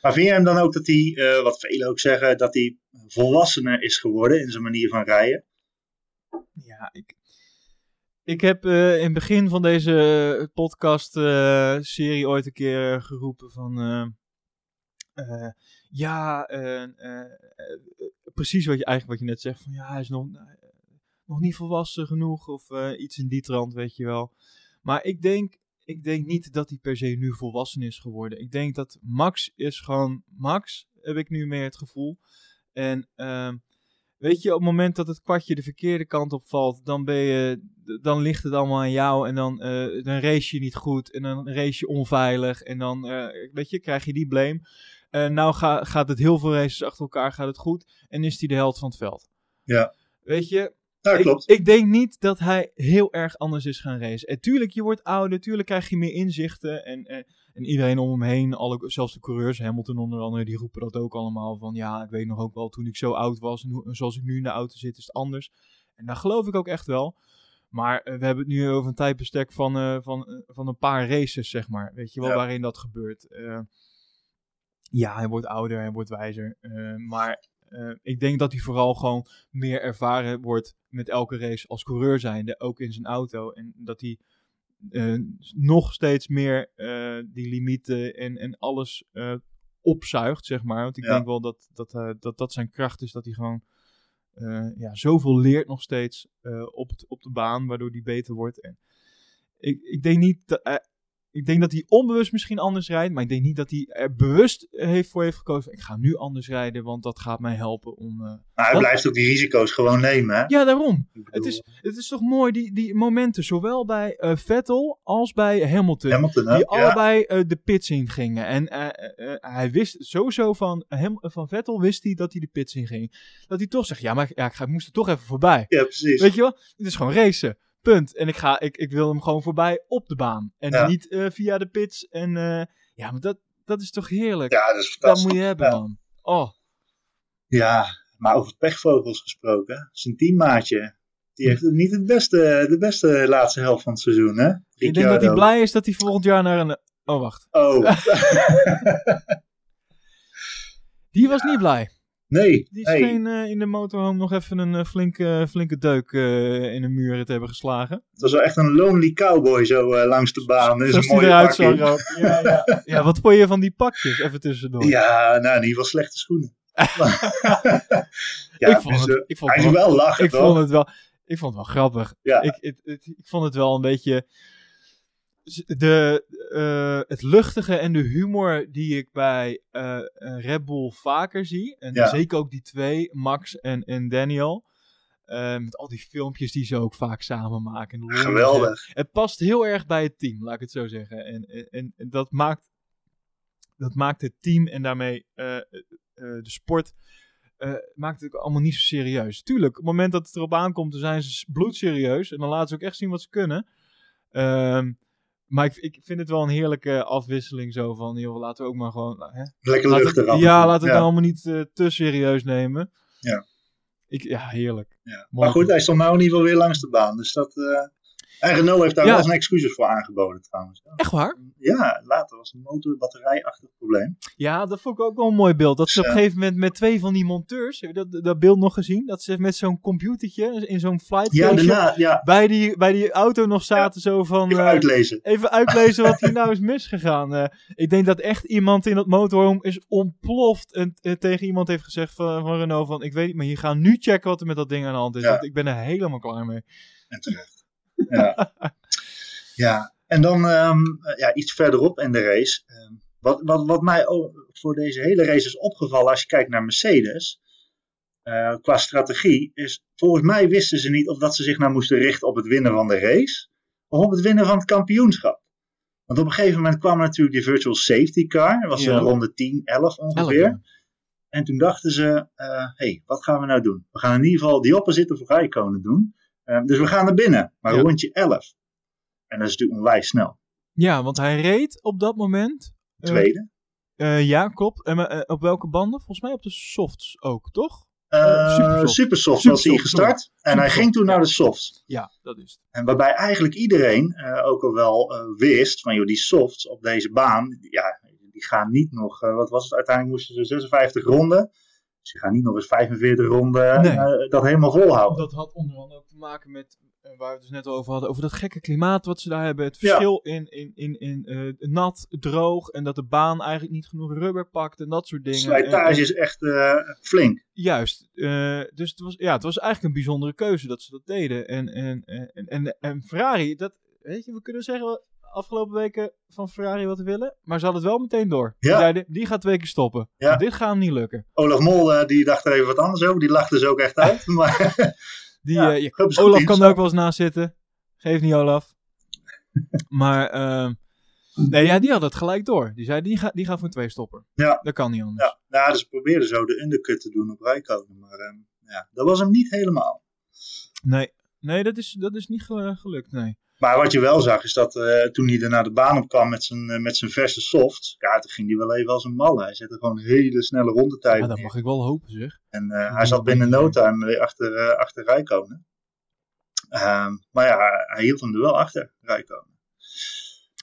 Speaker 2: Maar vind je hem dan ook dat hij, eh, wat velen ook zeggen, dat hij volwassener is geworden in zijn manier van rijden?
Speaker 1: Ja, ik, ik heb eh, in het begin van deze podcast-serie ooit een keer geroepen van... eh, eh, ja, eh, eh, eh, precies wat je, eigenlijk wat je net zegt. Van, ja, hij is nog, eh, nog niet volwassen genoeg of eh, iets in die trant, weet je wel. Maar ik denk, ik denk niet dat hij per se nu volwassen is geworden. Ik denk dat Max is gewoon Max, heb ik nu meer het gevoel. En ehm, weet je, op het moment dat het kwartje de verkeerde kant op valt, dan, ben je, dan ligt het allemaal aan jou. En dan, eh, dan race je niet goed en dan race je onveilig. En dan, eh, weet je, krijg je die blame. Eh nou ga- gaat het heel veel races achter elkaar, gaat het goed. En is hij de held van het veld.
Speaker 2: Ja.
Speaker 1: Weet je,
Speaker 2: Nou,
Speaker 1: ik,
Speaker 2: klopt.
Speaker 1: ik denk niet dat hij heel erg anders is gaan racen. En tuurlijk, je wordt ouder, tuurlijk krijg je meer inzichten. En, en, en iedereen om hem heen, alle, zelfs de coureurs, Hamilton onder andere, die roepen dat ook allemaal. Van ja, ik weet nog ook wel, toen ik zo oud was en hoe- en zoals ik nu in de auto zit, is het anders. En daar geloof ik ook echt wel. Maar eh, we hebben het nu over een tijdbestek van, eh, van, eh, van een paar races, zeg maar. Weet je wel,
Speaker 2: Ja.
Speaker 1: waarin dat gebeurt. Eh, ja, hij wordt ouder, hij wordt wijzer. Eh, maar eh, ik denk dat hij vooral gewoon meer ervaren wordt met elke race als coureur zijnde, ook in zijn auto. En dat hij eh, nog steeds meer eh, die limieten en, en alles eh, opzuigt, zeg maar. Want ik
Speaker 2: Ja.
Speaker 1: denk wel dat dat, eh, dat dat zijn kracht is, dat hij gewoon eh, ja, zoveel leert nog steeds eh, op, het- op de baan, waardoor hij beter wordt. En ik, ik denk niet dat... eh, ik denk dat hij onbewust misschien anders rijdt, maar ik denk niet dat hij er bewust eh, heeft voor heeft gekozen. Ik ga nu anders rijden, want dat gaat mij helpen om. eh,
Speaker 2: Maar hij
Speaker 1: Wat?
Speaker 2: blijft ook die risico's gewoon nemen. Hè?
Speaker 1: Ja, daarom.
Speaker 2: Ik bedoel,
Speaker 1: Het is, het is toch mooi, die, die momenten, zowel bij eh, Vettel als bij Hamilton.
Speaker 2: Hamilton, hè?
Speaker 1: Die
Speaker 2: ja.
Speaker 1: allebei eh, de pits in gingen. En eh, eh, eh, hij wist sowieso van, hem, van Vettel wist hij dat hij de pits in ging. Dat hij toch zegt, ja, maar ja, ik, ga, ik moest er toch even voorbij.
Speaker 2: ja, precies.
Speaker 1: Weet je wel? Het is gewoon racen. Punt. En ik, ga, ik, ik wil hem gewoon voorbij op de baan. En
Speaker 2: Ja.
Speaker 1: niet eh, via de pits. En eh, ja, maar dat, dat is toch heerlijk.
Speaker 2: Ja, dat is
Speaker 1: dat
Speaker 2: fantastisch.
Speaker 1: moet je hebben,
Speaker 2: Ja.
Speaker 1: man. Oh,
Speaker 2: Ja, maar over pechvogels gesproken. Zijn teammaatje, die heeft het niet het beste, de beste laatste helft van het seizoen, hè?
Speaker 1: ik denk dat hij
Speaker 2: Ricciardo.
Speaker 1: blij is dat hij volgend jaar naar een... Oh, wacht. [laughs]
Speaker 2: Oh,
Speaker 1: Die was niet blij.
Speaker 2: nee.
Speaker 1: Die
Speaker 2: nee.
Speaker 1: scheen eh, in de motorhome nog even een eh, flinke, flinke deuk eh, in de muren te hebben geslagen.
Speaker 2: Het was wel echt een lonely cowboy zo eh, langs de baan. Dat is
Speaker 1: Zoals
Speaker 2: een
Speaker 1: die
Speaker 2: mooie
Speaker 1: eruit
Speaker 2: pakkie.
Speaker 1: zag ook. Ja, ja. ja, wat vond je van die pakjes? Even tussendoor.
Speaker 2: Ja, nou, in ieder geval
Speaker 1: [laughs]
Speaker 2: slechte schoenen. ja,
Speaker 1: ik, vond
Speaker 2: dus,
Speaker 1: het,
Speaker 2: eh,
Speaker 1: ik, vond
Speaker 2: hij
Speaker 1: het
Speaker 2: is
Speaker 1: wel,
Speaker 2: wel lachen,
Speaker 1: ik
Speaker 2: toch?
Speaker 1: vond het wel... Ik vond het wel grappig.
Speaker 2: Ja.
Speaker 1: Ik, het- het- ik vond het wel een beetje... De, eh, het luchtige en de humor die ik bij eh, een Red Bull vaker zie. En
Speaker 2: Ja.
Speaker 1: zeker ook die twee, Max en, en Daniel. eh, met al die filmpjes die ze ook vaak samen maken. En
Speaker 2: Geweldig.
Speaker 1: het past heel erg bij het team, laat ik het zo zeggen. En, en, en dat, maakt, dat maakt het team en daarmee eh, eh, de sport. eh, maakt het ook allemaal niet zo serieus. Tuurlijk, op het moment dat het erop aankomt, dan zijn ze s- bloedserieus. En dan laten ze ook echt zien wat ze kunnen. Ehm, maar ik, ik vind het wel een heerlijke afwisseling zo van, joh, laten we ook maar gewoon... nou, Hè,
Speaker 2: Lekker
Speaker 1: laten we-
Speaker 2: luchtig af.
Speaker 1: ja, laten we het nou
Speaker 2: Ja.
Speaker 1: allemaal niet eh, te serieus nemen.
Speaker 2: Ja.
Speaker 1: Ik, ja, heerlijk.
Speaker 2: Ja.
Speaker 1: Mooi.
Speaker 2: Maar goed, hij stond nou in ieder geval weer langs de baan. Dus dat... eh, En Renault heeft daar
Speaker 1: Ja.
Speaker 2: wel zijn excuses voor aangeboden, trouwens.
Speaker 1: Echt waar?
Speaker 2: Ja, later was een motorbatterijachtig probleem.
Speaker 1: Ja, dat vond ik ook wel een mooi beeld. Dat ze op een
Speaker 2: Ja.
Speaker 1: gegeven moment met twee van die monteurs, heb je dat, dat beeld nog gezien? Dat ze met zo'n computertje in zo'n flight
Speaker 2: Ja,
Speaker 1: coach
Speaker 2: daarna, ja,
Speaker 1: bij, die, bij die auto nog zaten zo van...
Speaker 2: even
Speaker 1: eh,
Speaker 2: uitlezen.
Speaker 1: even uitlezen wat hier nou is misgegaan. Eh, ik denk dat echt iemand in dat motorhome is ontploft en eh, tegen iemand heeft gezegd van, van Renault van... Ik weet niet, maar je gaat nu checken wat er met dat ding aan de hand is.
Speaker 2: Ja.
Speaker 1: Want ik ben er helemaal klaar mee.
Speaker 2: En terecht.
Speaker 1: [laughs]
Speaker 2: eh, Ja. ja. En dan ehm, ja, iets verderop in de race. ehm, Wat, wat, wat mij ook voor deze hele race is opgevallen als je kijkt naar Mercedes, eh, qua strategie, is volgens mij wisten ze niet of dat ze zich nou moesten richten op het winnen van de race of op het winnen van het kampioenschap. Want op een gegeven moment kwam natuurlijk die virtual safety car, dat was
Speaker 1: Ja.
Speaker 2: eh, ronde 10,
Speaker 3: Elk,
Speaker 2: 11 ongeveer.
Speaker 3: ja.
Speaker 2: En toen dachten ze, eh hey, wat gaan we nou doen? We gaan in ieder geval die opposite voor Rijkonen doen. Eh, dus we gaan naar binnen, maar
Speaker 1: Ja.
Speaker 2: rondje 11. En dat is natuurlijk onwijs snel.
Speaker 1: Ja, want hij reed op dat moment. eh,
Speaker 2: Tweede.
Speaker 1: eh, ja, klopt. En maar, eh, op welke banden? Volgens mij op de softs ook, toch?
Speaker 2: Eh,
Speaker 1: Supersoft.
Speaker 2: supersoft. was hij
Speaker 1: Supersoft,
Speaker 2: gestart. En hij
Speaker 1: Supersoft,
Speaker 2: ging toen
Speaker 1: ja.
Speaker 2: naar de softs.
Speaker 1: Ja, dat is het.
Speaker 2: En waarbij eigenlijk iedereen eh, ook al wel eh, wist van joh, die softs op deze baan, ja, die gaan niet nog, eh, wat was het, uiteindelijk moesten ze 56 ronden. Dus die gaan niet nog eens 45 ronden
Speaker 1: Nee.
Speaker 2: eh, dat helemaal volhouden.
Speaker 1: Dat had onder andere ook te maken met eh, waar we het dus net over hadden, over dat gekke klimaat wat ze daar hebben. Het
Speaker 2: Ja.
Speaker 1: verschil in, in, in, in eh, nat, droog en dat de baan eigenlijk niet genoeg rubber pakt en dat soort
Speaker 2: De
Speaker 1: dingen. En-
Speaker 2: slijtage
Speaker 1: en-
Speaker 2: is echt eh, flink.
Speaker 1: Juist. eh, dus het was, ja, het was eigenlijk een bijzondere keuze dat ze dat deden. En, en, en, en- en, en Ferrari, dat, weet je, we kunnen zeggen wel afgelopen weken van Ferrari wat we willen, maar ze hadden het wel meteen door.
Speaker 2: Ja.
Speaker 1: Ze zeiden, die gaat twee keer stoppen.
Speaker 2: Ja.
Speaker 1: Dit gaat hem niet lukken.
Speaker 2: Olaf Mol eh, die dacht er even wat anders over, die lachte dus ook echt uit.
Speaker 1: [laughs]
Speaker 2: Maar
Speaker 1: Die,
Speaker 2: Ja,
Speaker 1: eh, je-
Speaker 2: hebben ze goed
Speaker 1: Olaf kan er
Speaker 2: ingezet.
Speaker 1: ook wel eens naast zitten. Geef niet,
Speaker 2: [laughs]
Speaker 1: Olaf. maar, ehm, nee, ja, die had het gelijk door. Die zei, die, ga, die gaat voor twee stoppen.
Speaker 2: Ja.
Speaker 1: Dat kan niet anders.
Speaker 2: Ja, nou, dus ze probeerden zo de undercut te doen op Rijkonen, maar eh, ja, dat was hem niet helemaal.
Speaker 1: Nee, nee dat, is, dat is niet ge- gelukt, nee.
Speaker 2: Maar wat je wel zag, is dat eh, toen hij er naar de baan op kwam met zijn, eh, met zijn verse soft, ja, toen ging hij wel even als een malle. Hij zette gewoon hele snelle
Speaker 1: Maar
Speaker 2: rondetijden
Speaker 1: dat
Speaker 2: neer.
Speaker 1: mag ik wel hopen, zeg.
Speaker 2: En eh, hij zat binnen no time weer achter, eh, achter Rijkonen. Ehm, maar ja, hij hield hem er wel achter, Rijkonen.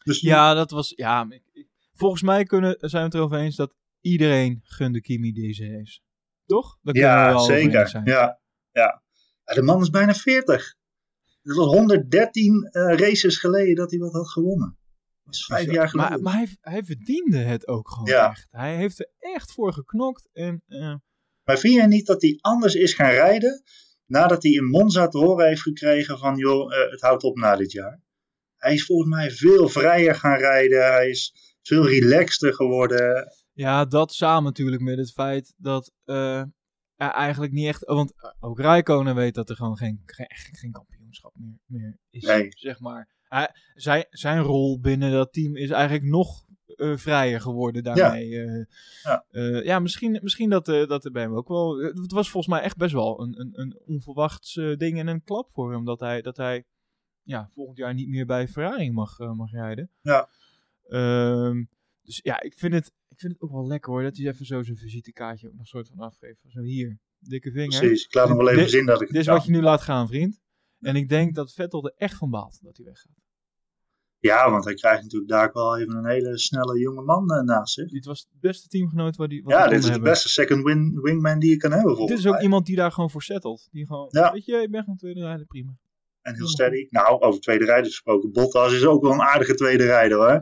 Speaker 2: Dus
Speaker 1: Ja, dat was, ja. maar ik- ik- Volgens mij kunnen, zijn we het erover eens dat iedereen gunde Kimi deze race. Toch? Daar kunnen we
Speaker 2: ja
Speaker 1: wel over eens
Speaker 2: zeker.
Speaker 1: zijn.
Speaker 2: Ja, ja. Ja, de man is bijna 40. Dat was 113 eh, races geleden dat hij wat had gewonnen. Dat is vijf jaar geleden.
Speaker 1: Maar, maar hij, hij verdiende het ook gewoon
Speaker 2: Ja.
Speaker 1: echt. Hij heeft er echt voor geknokt. En, eh,
Speaker 2: Maar vind jij niet dat hij anders is gaan rijden nadat hij in Monza te horen heeft gekregen van joh, eh, het houdt op na dit jaar? Hij is volgens mij veel vrijer gaan rijden, hij is veel relaxter geworden.
Speaker 1: Ja, dat samen natuurlijk met het feit dat eh, er eigenlijk niet echt. Want ook Rijkonen weet dat er gewoon geen, geen, echt geen kampioenschap meer, meer is.
Speaker 2: Nee.
Speaker 1: Zeg maar. Hij- zijn, zijn rol binnen dat team is eigenlijk nog eh, vrijer geworden daarmee. eh. Eh,
Speaker 2: Ja.
Speaker 1: ja. misschien, misschien dat, eh, dat er bij hem ook wel. eh, het was volgens mij echt best wel een, een, een onverwachts eh, ding en een klap voor hem. Dat hij, dat hij ja, volgend jaar niet meer bij Ferrari mag, eh, mag rijden.
Speaker 2: Ja.
Speaker 1: Ehm, dus ja, ik vind, het, ik vind het ook wel lekker hoor. Dat hij even zo zijn visitekaartje ook nog soort van afgeeft. Zo hier, dikke vinger.
Speaker 2: Precies, ik laat hem wel even
Speaker 1: Dit-
Speaker 2: zien dat ik
Speaker 1: Dit is
Speaker 2: het
Speaker 1: wat
Speaker 2: kan.
Speaker 1: je nu laat gaan, vriend. En ik denk dat Vettel er echt van baalt dat hij weggaat.
Speaker 2: Ja, want hij krijgt natuurlijk daar ook wel even een hele snelle jonge man eh, naast zich.
Speaker 1: Dit was het beste teamgenoot waar die. wat
Speaker 2: Ja,
Speaker 1: hij kon
Speaker 2: dit is de
Speaker 1: hebben.
Speaker 2: beste second win, wingman die je kan hebben
Speaker 1: Dit
Speaker 2: volgens
Speaker 1: is ook
Speaker 2: mij.
Speaker 1: iemand die daar gewoon voor settelt. Die gewoon,
Speaker 2: Ja.
Speaker 1: weet je, ik ben gewoon tweede rijden,
Speaker 2: [laughs]
Speaker 1: prima.
Speaker 2: En heel steady. Nou, over tweede rijden gesproken. Bottas is ook wel een aardige tweede rijder
Speaker 1: [laughs]
Speaker 2: hoor.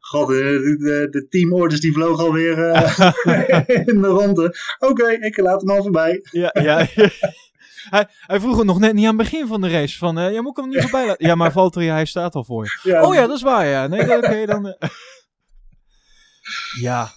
Speaker 2: God, eh, de, de, de teamorders die vlogen
Speaker 1: [laughs]
Speaker 2: alweer eh, [laughs] in de ronde. Oké, ik laat hem al voorbij.
Speaker 1: Ja, ja. [laughs] hij, hij vroeg het nog net niet aan het begin van de race. Van, eh, ja, moet ik hem nu voorbij laten? Ja, maar Valtteri, hij staat al voor je.
Speaker 2: Ja,
Speaker 1: Oh ja, dat is waar, ja. Nee, dan- oké, dan... eh. [laughs] ja,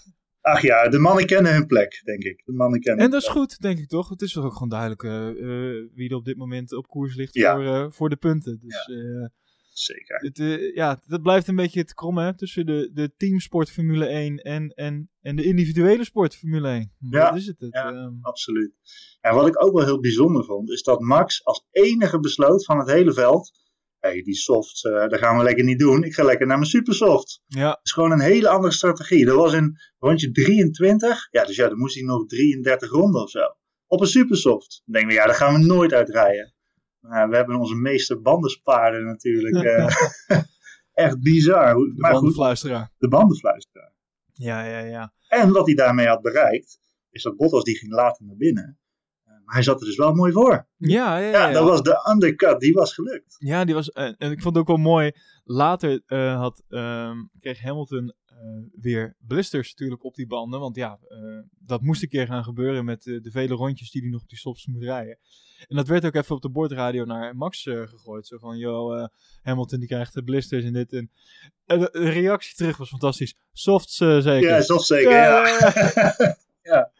Speaker 2: Ach ja, de mannen kennen hun plek, denk ik. De mannen kennen
Speaker 1: En
Speaker 2: hun
Speaker 1: dat is
Speaker 2: plek.
Speaker 1: goed, denk ik toch? Het is toch ook gewoon duidelijk eh, eh, wie er op dit moment op koers ligt
Speaker 2: Ja.
Speaker 1: voor, eh, voor de punten. Dus ja,
Speaker 2: Zeker.
Speaker 1: het, eh, ja, dat blijft een beetje het kromme hè, tussen de, de teamsport Formule 1 en, en, en de individuele sport Formule 1.
Speaker 2: Ja,
Speaker 1: Dat is het. het
Speaker 2: ja.
Speaker 1: ehm.
Speaker 2: Absoluut. En wat ik ook wel heel bijzonder vond, is dat Max als enige besloot van het hele veld. Hé, hey, die soft, eh dat gaan we lekker niet doen. Ik ga lekker naar mijn supersoft.
Speaker 1: ja,
Speaker 2: Dat is gewoon een hele andere strategie. Dat was in rondje 23. Ja, dus ja, dan moest hij nog 33 ronden of zo. Op een supersoft. Dan denken we, ja, daar gaan we nooit uitrijden. Maar we hebben onze meester bandenspaarden natuurlijk. eh, [laughs] echt bizar. Hoe-
Speaker 1: de
Speaker 2: maar goed,
Speaker 1: bandenfluisteraar.
Speaker 2: de bandenfluisteraar.
Speaker 1: Ja, ja, ja.
Speaker 2: En wat hij daarmee had bereikt, is dat Bottas die ging later naar binnen. Eh, Maar hij zat er dus wel mooi voor.
Speaker 1: Ja, ja, ja.
Speaker 2: Ja,
Speaker 1: ja.
Speaker 2: dat was de undercut, die was gelukt.
Speaker 1: Ja, die was. En, en ik vond het ook wel mooi. Later eh, had, ehm, kreeg Hamilton eh, weer blisters natuurlijk op die banden. Want ja, eh, dat moest een keer gaan gebeuren met eh, de vele rondjes die hij nog op die stops moet rijden. En dat werd ook even op de bordradio naar Max eh, gegooid. Zo van, joh, Hamilton die krijgt de blisters en dit. En, de reactie terug was fantastisch. Softs zeker.
Speaker 2: Ja, soft zeker, ja. [laughs] ja. ja.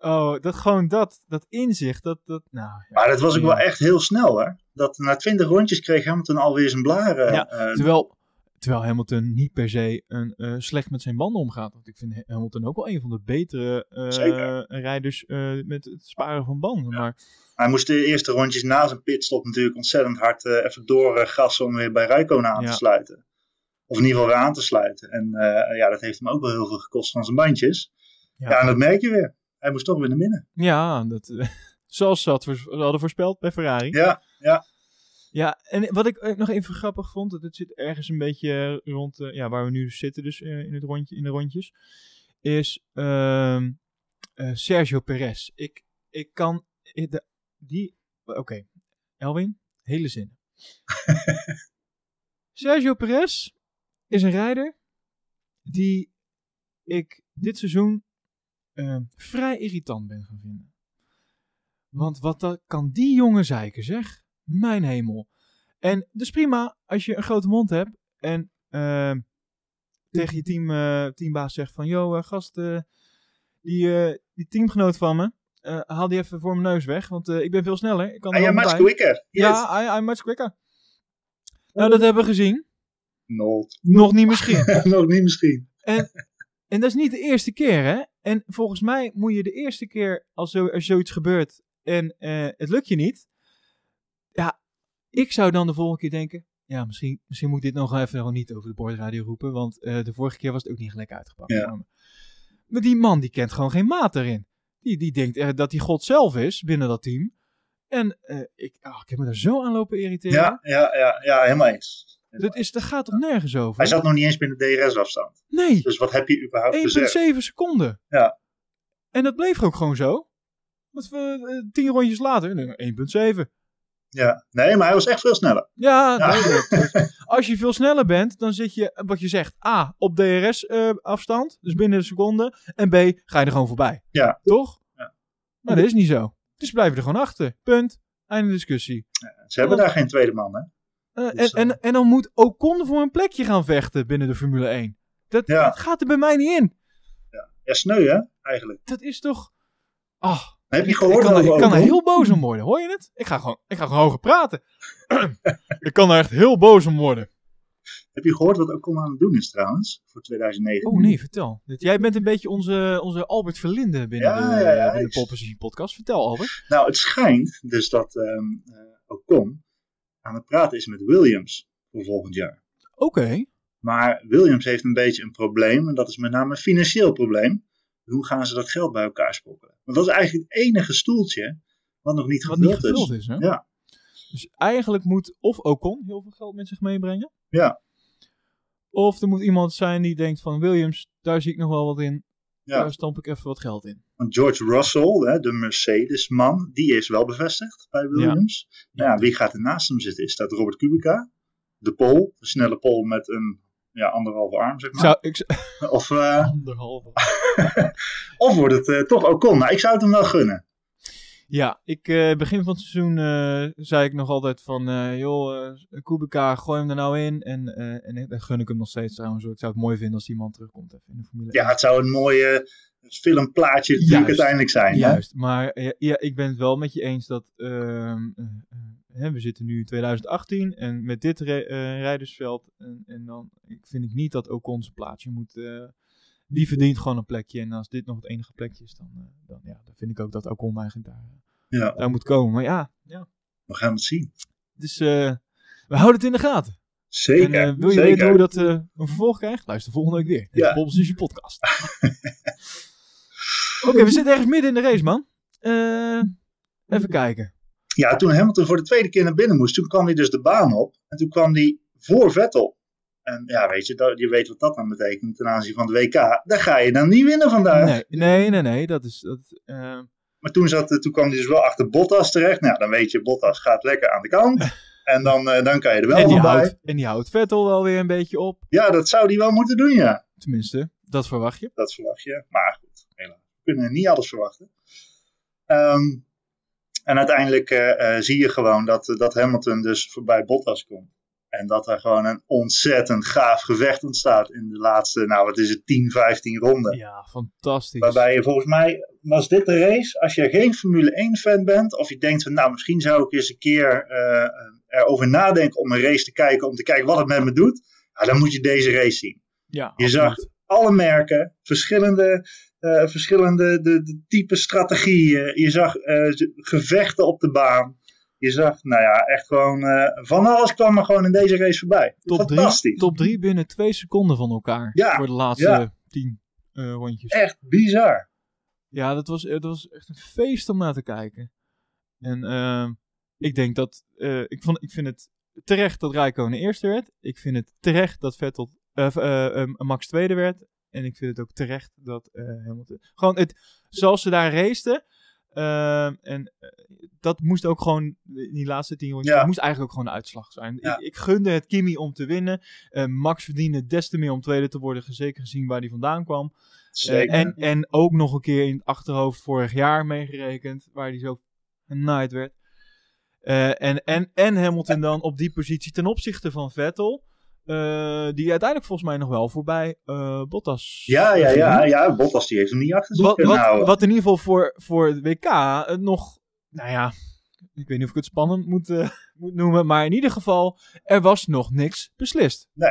Speaker 1: Oh, dat gewoon dat, dat inzicht. Dat, dat, nou, ja.
Speaker 2: Maar dat was ook wel echt heel snel, hè? Dat na twintig rondjes kreeg Hamilton alweer zijn blaren. eh,
Speaker 1: Ja, uh, terwijl, terwijl Hamilton niet per se een, uh, slecht met zijn banden omgaat. Want ik vind Hamilton ook wel een van de betere uh, rijders met het sparen van banden. Ja. Maar...
Speaker 2: Hij moest de eerste rondjes na zijn pitstop natuurlijk ontzettend hard eh, even doorgassen om weer bij Rijkonen aan te sluiten. Of in ieder geval weer aan te sluiten. En eh, ja, dat heeft hem ook wel heel veel gekost van zijn bandjes. ja en dat merk je weer hij moest toch weer naar binnen.
Speaker 1: Ja, dat, [laughs] euh, zoals ze hadden voorspeld bij Ferrari.
Speaker 2: Ja, ja.
Speaker 1: Ja, en wat ik eh, nog even grappig vond, dat het zit ergens een beetje rond uh, ja, waar we nu zitten, dus uh, in, het rondje, in de rondjes, is uh, Sergio Perez. Ik, ik kan eh, de, die, oké, okay. Elwin, hele zin. [laughs] Sergio Perez is een rijder die ik dit seizoen uh, vrij irritant ben gaan vinden. Want wat dat, kan die jongen zeiken, zeg? Mijn hemel. En dus prima als je een grote mond hebt en uh, tegen je team, uh, teambaas zegt van... ...joh, gast, eh, die, eh, die teamgenoot van me, eh, haal die even voor mijn neus weg, want eh, ik ben veel sneller. Ik kan
Speaker 2: I am much bij. quicker. Yes.
Speaker 1: Ja, I, I'm much quicker. Nou, dat hebben we gezien.
Speaker 2: Not.
Speaker 1: [laughs] Nog niet misschien.
Speaker 2: Nog niet misschien.
Speaker 1: En, en dat is niet de eerste keer, hè? En volgens mij moet je de eerste keer als, zo, als zoiets gebeurt en uh, het lukt je niet. Ja, ik zou dan de volgende keer denken. Ja, misschien, misschien moet ik dit nog even nog niet over de boordradio roepen. Want uh, de vorige keer was het ook niet gelijk uitgepakt. Ja. Maar die man die kent gewoon geen maat erin. Die, die denkt uh, dat hij God zelf is binnen dat team. En ik, oh, ik heb me daar zo aan lopen irriteren.
Speaker 2: Ja, ja, ja, ja helemaal eens.
Speaker 1: Dat, is, dat gaat toch nergens over?
Speaker 2: Hij zat nog niet eens binnen de DRS-afstand.
Speaker 1: Nee.
Speaker 2: Dus wat heb je überhaupt gezegd?
Speaker 1: 1,7 seconden.
Speaker 2: Ja.
Speaker 1: En dat bleef ook gewoon zo. Want we, eh, tien rondjes later, 1,7.
Speaker 2: Ja, nee, maar hij was echt veel sneller.
Speaker 1: Ja, ja. Nee, als je veel sneller bent, dan zit je, wat je zegt, A, op DRS-afstand, uh, dus binnen een seconde. En B, ga je er gewoon voorbij.
Speaker 2: Ja.
Speaker 1: Toch? Ja. Maar dat is niet zo. Dus blijven er gewoon achter. Punt. Einde discussie.
Speaker 2: Ja, ze hebben dan, daar geen tweede man, hè?
Speaker 1: Uh, en, en, en dan moet Ocon voor een plekje gaan vechten binnen de Formule 1. Dat, ja. dat gaat er bij mij niet in.
Speaker 2: Ja, ja sneu hè, eigenlijk.
Speaker 1: Dat is toch... Ah,
Speaker 2: Heb je gehoord
Speaker 1: ik, ik kan, ik kan
Speaker 2: er
Speaker 1: heel boos om worden, hoor je het? Ik ga gewoon, ik ga gewoon hoger praten. [clears throat] ik kan er echt heel boos om worden.
Speaker 2: Heb je gehoord wat Ocon aan het doen is trouwens, voor 2009?
Speaker 1: Oh nee, vertel. Jij bent een beetje onze, onze Albert Verlinde binnen ja, de, ja, binnen de podcast. Vertel Albert.
Speaker 2: Nou, het schijnt dus dat um, uh, Ocon aan het praten is met Williams voor volgend jaar.
Speaker 1: Oké. Okay.
Speaker 2: Maar Williams heeft een beetje een probleem en dat is met name een financieel probleem. Hoe gaan ze dat geld bij elkaar sprokkelen? Want dat is eigenlijk het enige stoeltje wat nog niet
Speaker 1: wat
Speaker 2: gevuld,
Speaker 1: niet gevuld is. is hè?
Speaker 2: Ja.
Speaker 1: Dus eigenlijk moet of Ocon heel veel geld met zich meebrengen.
Speaker 2: Ja.
Speaker 1: Of er moet iemand zijn die denkt van Williams, daar zie ik nog wel wat in. Ja. Daar stamp ik even wat geld in.
Speaker 2: Want George Russell, hè, de Mercedes-man, die is wel bevestigd bij Williams. Ja. Nou, ja. wie gaat er naast hem zitten? Is dat Robert Kubica? De Pol, de snelle Pol met een ja, anderhalve arm, zeg maar.
Speaker 1: Zou, ik [laughs]
Speaker 2: of, uh...
Speaker 1: Anderhalve.
Speaker 2: [laughs] of wordt het uh, toch Ocon? Nou, ik zou het hem wel gunnen.
Speaker 1: Ja, ik, uh, begin van het seizoen eh, zei ik nog altijd van, eh, joh, Kubica, gooi hem er nou in. En, en dat gun ik hem nog steeds trouwens. Ik zou het mooi vinden als die man terugkomt even in de Formule 1.
Speaker 2: Ja, het zou een mooie eh, filmplaatje natuurlijk juist, uiteindelijk zijn.
Speaker 1: Juist,
Speaker 2: hè?
Speaker 1: maar eh, ja, ja, ik ben het wel met je eens dat uh, uh, hè, we zitten nu in 2018 en met dit uh, rijdersveld en, en, dan ik vind ik niet dat ook onze plaatje moet. eh, die verdient gewoon een plekje en als dit nog het enige plekje is, dan, eh, dan, ja, dan vind ik ook dat Ocon eigenlijk daar, ja. daar moet komen. Maar ja, ja,
Speaker 2: we gaan het zien.
Speaker 1: Dus we houden het in de gaten.
Speaker 2: Zeker.
Speaker 1: En, eh, wil je
Speaker 2: zeker.
Speaker 1: weten hoe dat een vervolg krijgt? Luister volgende week weer. Dit ja. is dus je
Speaker 2: [laughs]
Speaker 1: podcast. Oké, okay, we zitten ergens midden in de race, man. Uh, even kijken.
Speaker 2: Ja, toen Hamilton voor de tweede keer naar binnen moest, toen kwam hij dus de baan op. En toen kwam hij voor Vettel. En ja, weet je, dat, je weet wat dat dan betekent ten aanzien van de WK. Daar ga je dan niet winnen vandaag.
Speaker 1: Nee, nee, nee, nee dat is... Dat, uh...
Speaker 2: eh,
Speaker 1: [laughs]
Speaker 2: Maar toen, zat, toen kwam hij dus wel achter Bottas terecht. Nou, dan weet je, Bottas gaat lekker aan de kant. En dan, eh, dan kan je er wel
Speaker 1: En die,
Speaker 2: van bij.
Speaker 1: houdt, en die houdt Vettel wel weer een beetje op.
Speaker 2: Ja, dat zou die wel moeten doen, ja.
Speaker 1: Tenminste, dat verwacht je.
Speaker 2: Dat verwacht je. Maar goed, helaas. We kunnen niet alles verwachten. Ehm, en uiteindelijk eh, eh, zie je gewoon dat, eh, dat Hamilton dus voorbij Bottas komt. En dat er gewoon een ontzettend gaaf gevecht ontstaat in de laatste, nou wat is het, 10, 15 ronden.
Speaker 1: Ja, fantastisch.
Speaker 2: Waarbij je volgens mij, was dit de race, als je geen Formule 1 fan bent, of je denkt van nou misschien zou ik eens een keer eh, erover nadenken om een race te kijken, om te kijken wat het met me doet, ja, dan moet je deze race zien.
Speaker 1: ja,
Speaker 2: Je
Speaker 1: absoluut.
Speaker 2: zag alle merken, verschillende, eh, verschillende de, de type strategieën, je zag eh, z- gevechten op de baan. Je zag, nou ja, echt gewoon, eh, van alles kwam er gewoon in deze race voorbij.
Speaker 1: top
Speaker 2: Fantastisch.
Speaker 1: drie, top drie binnen twee seconden van elkaar.
Speaker 2: Ja,
Speaker 1: Voor de laatste
Speaker 2: ja.
Speaker 1: tien eh, rondjes.
Speaker 2: Echt bizar.
Speaker 1: Ja, dat was, eh, dat was echt een feest om naar te kijken. En ehm, ik denk dat. eh, ik, vond, ik vind het terecht dat Raikkonen eerste werd. Ik vind het terecht dat Vettel, eh, eh, eh, Max tweede werd. En ik vind het ook terecht dat eh, Hamilton. Gewoon het, zoals ze daar raceten. ehm, en eh, dat moest ook gewoon in die laatste tien rondjes.
Speaker 2: Ja.
Speaker 1: Dat moest eigenlijk ook gewoon de uitslag zijn.
Speaker 2: Ja.
Speaker 1: Ik, ik gunde het Kimi om te winnen. Eh, Max verdiende des te meer om tweede te worden. Zeker gezien waar hij vandaan kwam.
Speaker 2: Zeker.
Speaker 1: Eh, en, en ook nog een keer in het achterhoofd vorig jaar meegerekend, waar hij zo genaaid werd. Eh, en, en, en Hamilton dan op die positie ten opzichte van Vettel. eh, die uiteindelijk volgens mij nog wel voorbij eh, Bottas.
Speaker 2: ja, ja, ja,
Speaker 1: ging.
Speaker 2: ja, Bottas die heeft hem niet achter zich
Speaker 1: Wat,
Speaker 2: kunnen
Speaker 1: wat,
Speaker 2: houden.
Speaker 1: wat in ieder geval voor, voor het WK het nog, nou ja, ik weet niet of ik het spannend moet, eh, [laughs] moet noemen, maar in ieder geval, er was nog niks beslist.
Speaker 2: Nee.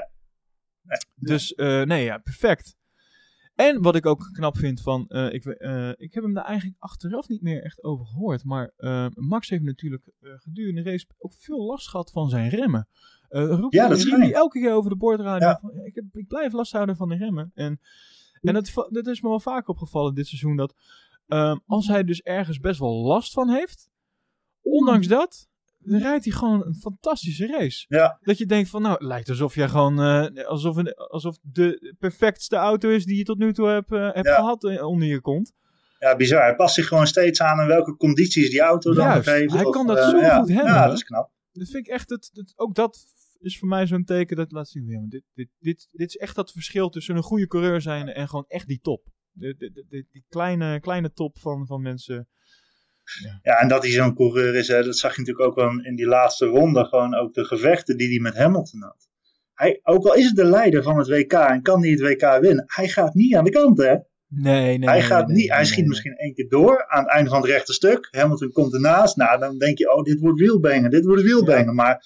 Speaker 2: Nee.
Speaker 1: Dus eh, nee, ja, perfect. En wat ik ook knap vind van, eh, ik, we- eh, ik heb hem daar eigenlijk achteraf niet meer echt over gehoord, maar eh, Max heeft natuurlijk eh, gedurende de race ook veel last gehad van zijn remmen. Eh roept
Speaker 2: Ja,
Speaker 1: hij-
Speaker 2: dat
Speaker 1: riep
Speaker 2: schijnt.
Speaker 1: hij elke keer over de boordradio.
Speaker 2: Ja.
Speaker 1: van, Ik, heb, ik blijf last houden van de remmen. En, en dat, va- dat is me wel vaak opgevallen dit seizoen. Dat ehm, als hij dus ergens best wel last van heeft, ondanks dat, dan rijdt hij gewoon een fantastische race.
Speaker 2: Ja.
Speaker 1: Dat je denkt van, nou, het lijkt alsof jij gewoon, eh, alsof, een, alsof de perfectste auto is die je tot nu toe hebt, eh, hebt
Speaker 2: Ja.
Speaker 1: gehad eh, onder je kont.
Speaker 2: Ja, bizar. Hij past zich gewoon steeds aan aan welke condities die auto dan
Speaker 1: Juist.
Speaker 2: geeft.
Speaker 1: Hij
Speaker 2: Of,
Speaker 1: kan dat
Speaker 2: eh,
Speaker 1: zo
Speaker 2: ja.
Speaker 1: goed handelen.
Speaker 2: Ja, dat is knap.
Speaker 1: Dat vind ik echt, het, het- ook dat is voor mij zo'n teken dat, laat zien, ja, maar dit, dit, dit, dit is echt dat verschil tussen een goede coureur zijn en gewoon echt die top. De, de, de- de- die kleine, kleine top van, van mensen.
Speaker 2: Ja, en dat hij zo'n coureur is, hè, dat zag je natuurlijk ook wel in die laatste ronde. Gewoon ook de gevechten die hij met Hamilton had. Hij, ook al is het de leider van het WK en kan hij het WK winnen, hij gaat niet aan de kant, hè?
Speaker 1: Nee, nee.
Speaker 2: hij gaat niet, hij schiet misschien één keer door aan het einde van het rechte stuk. Hamilton komt ernaast. Nou, dan denk je, oh, dit wordt wielbengen, dit wordt wielbengen. Maar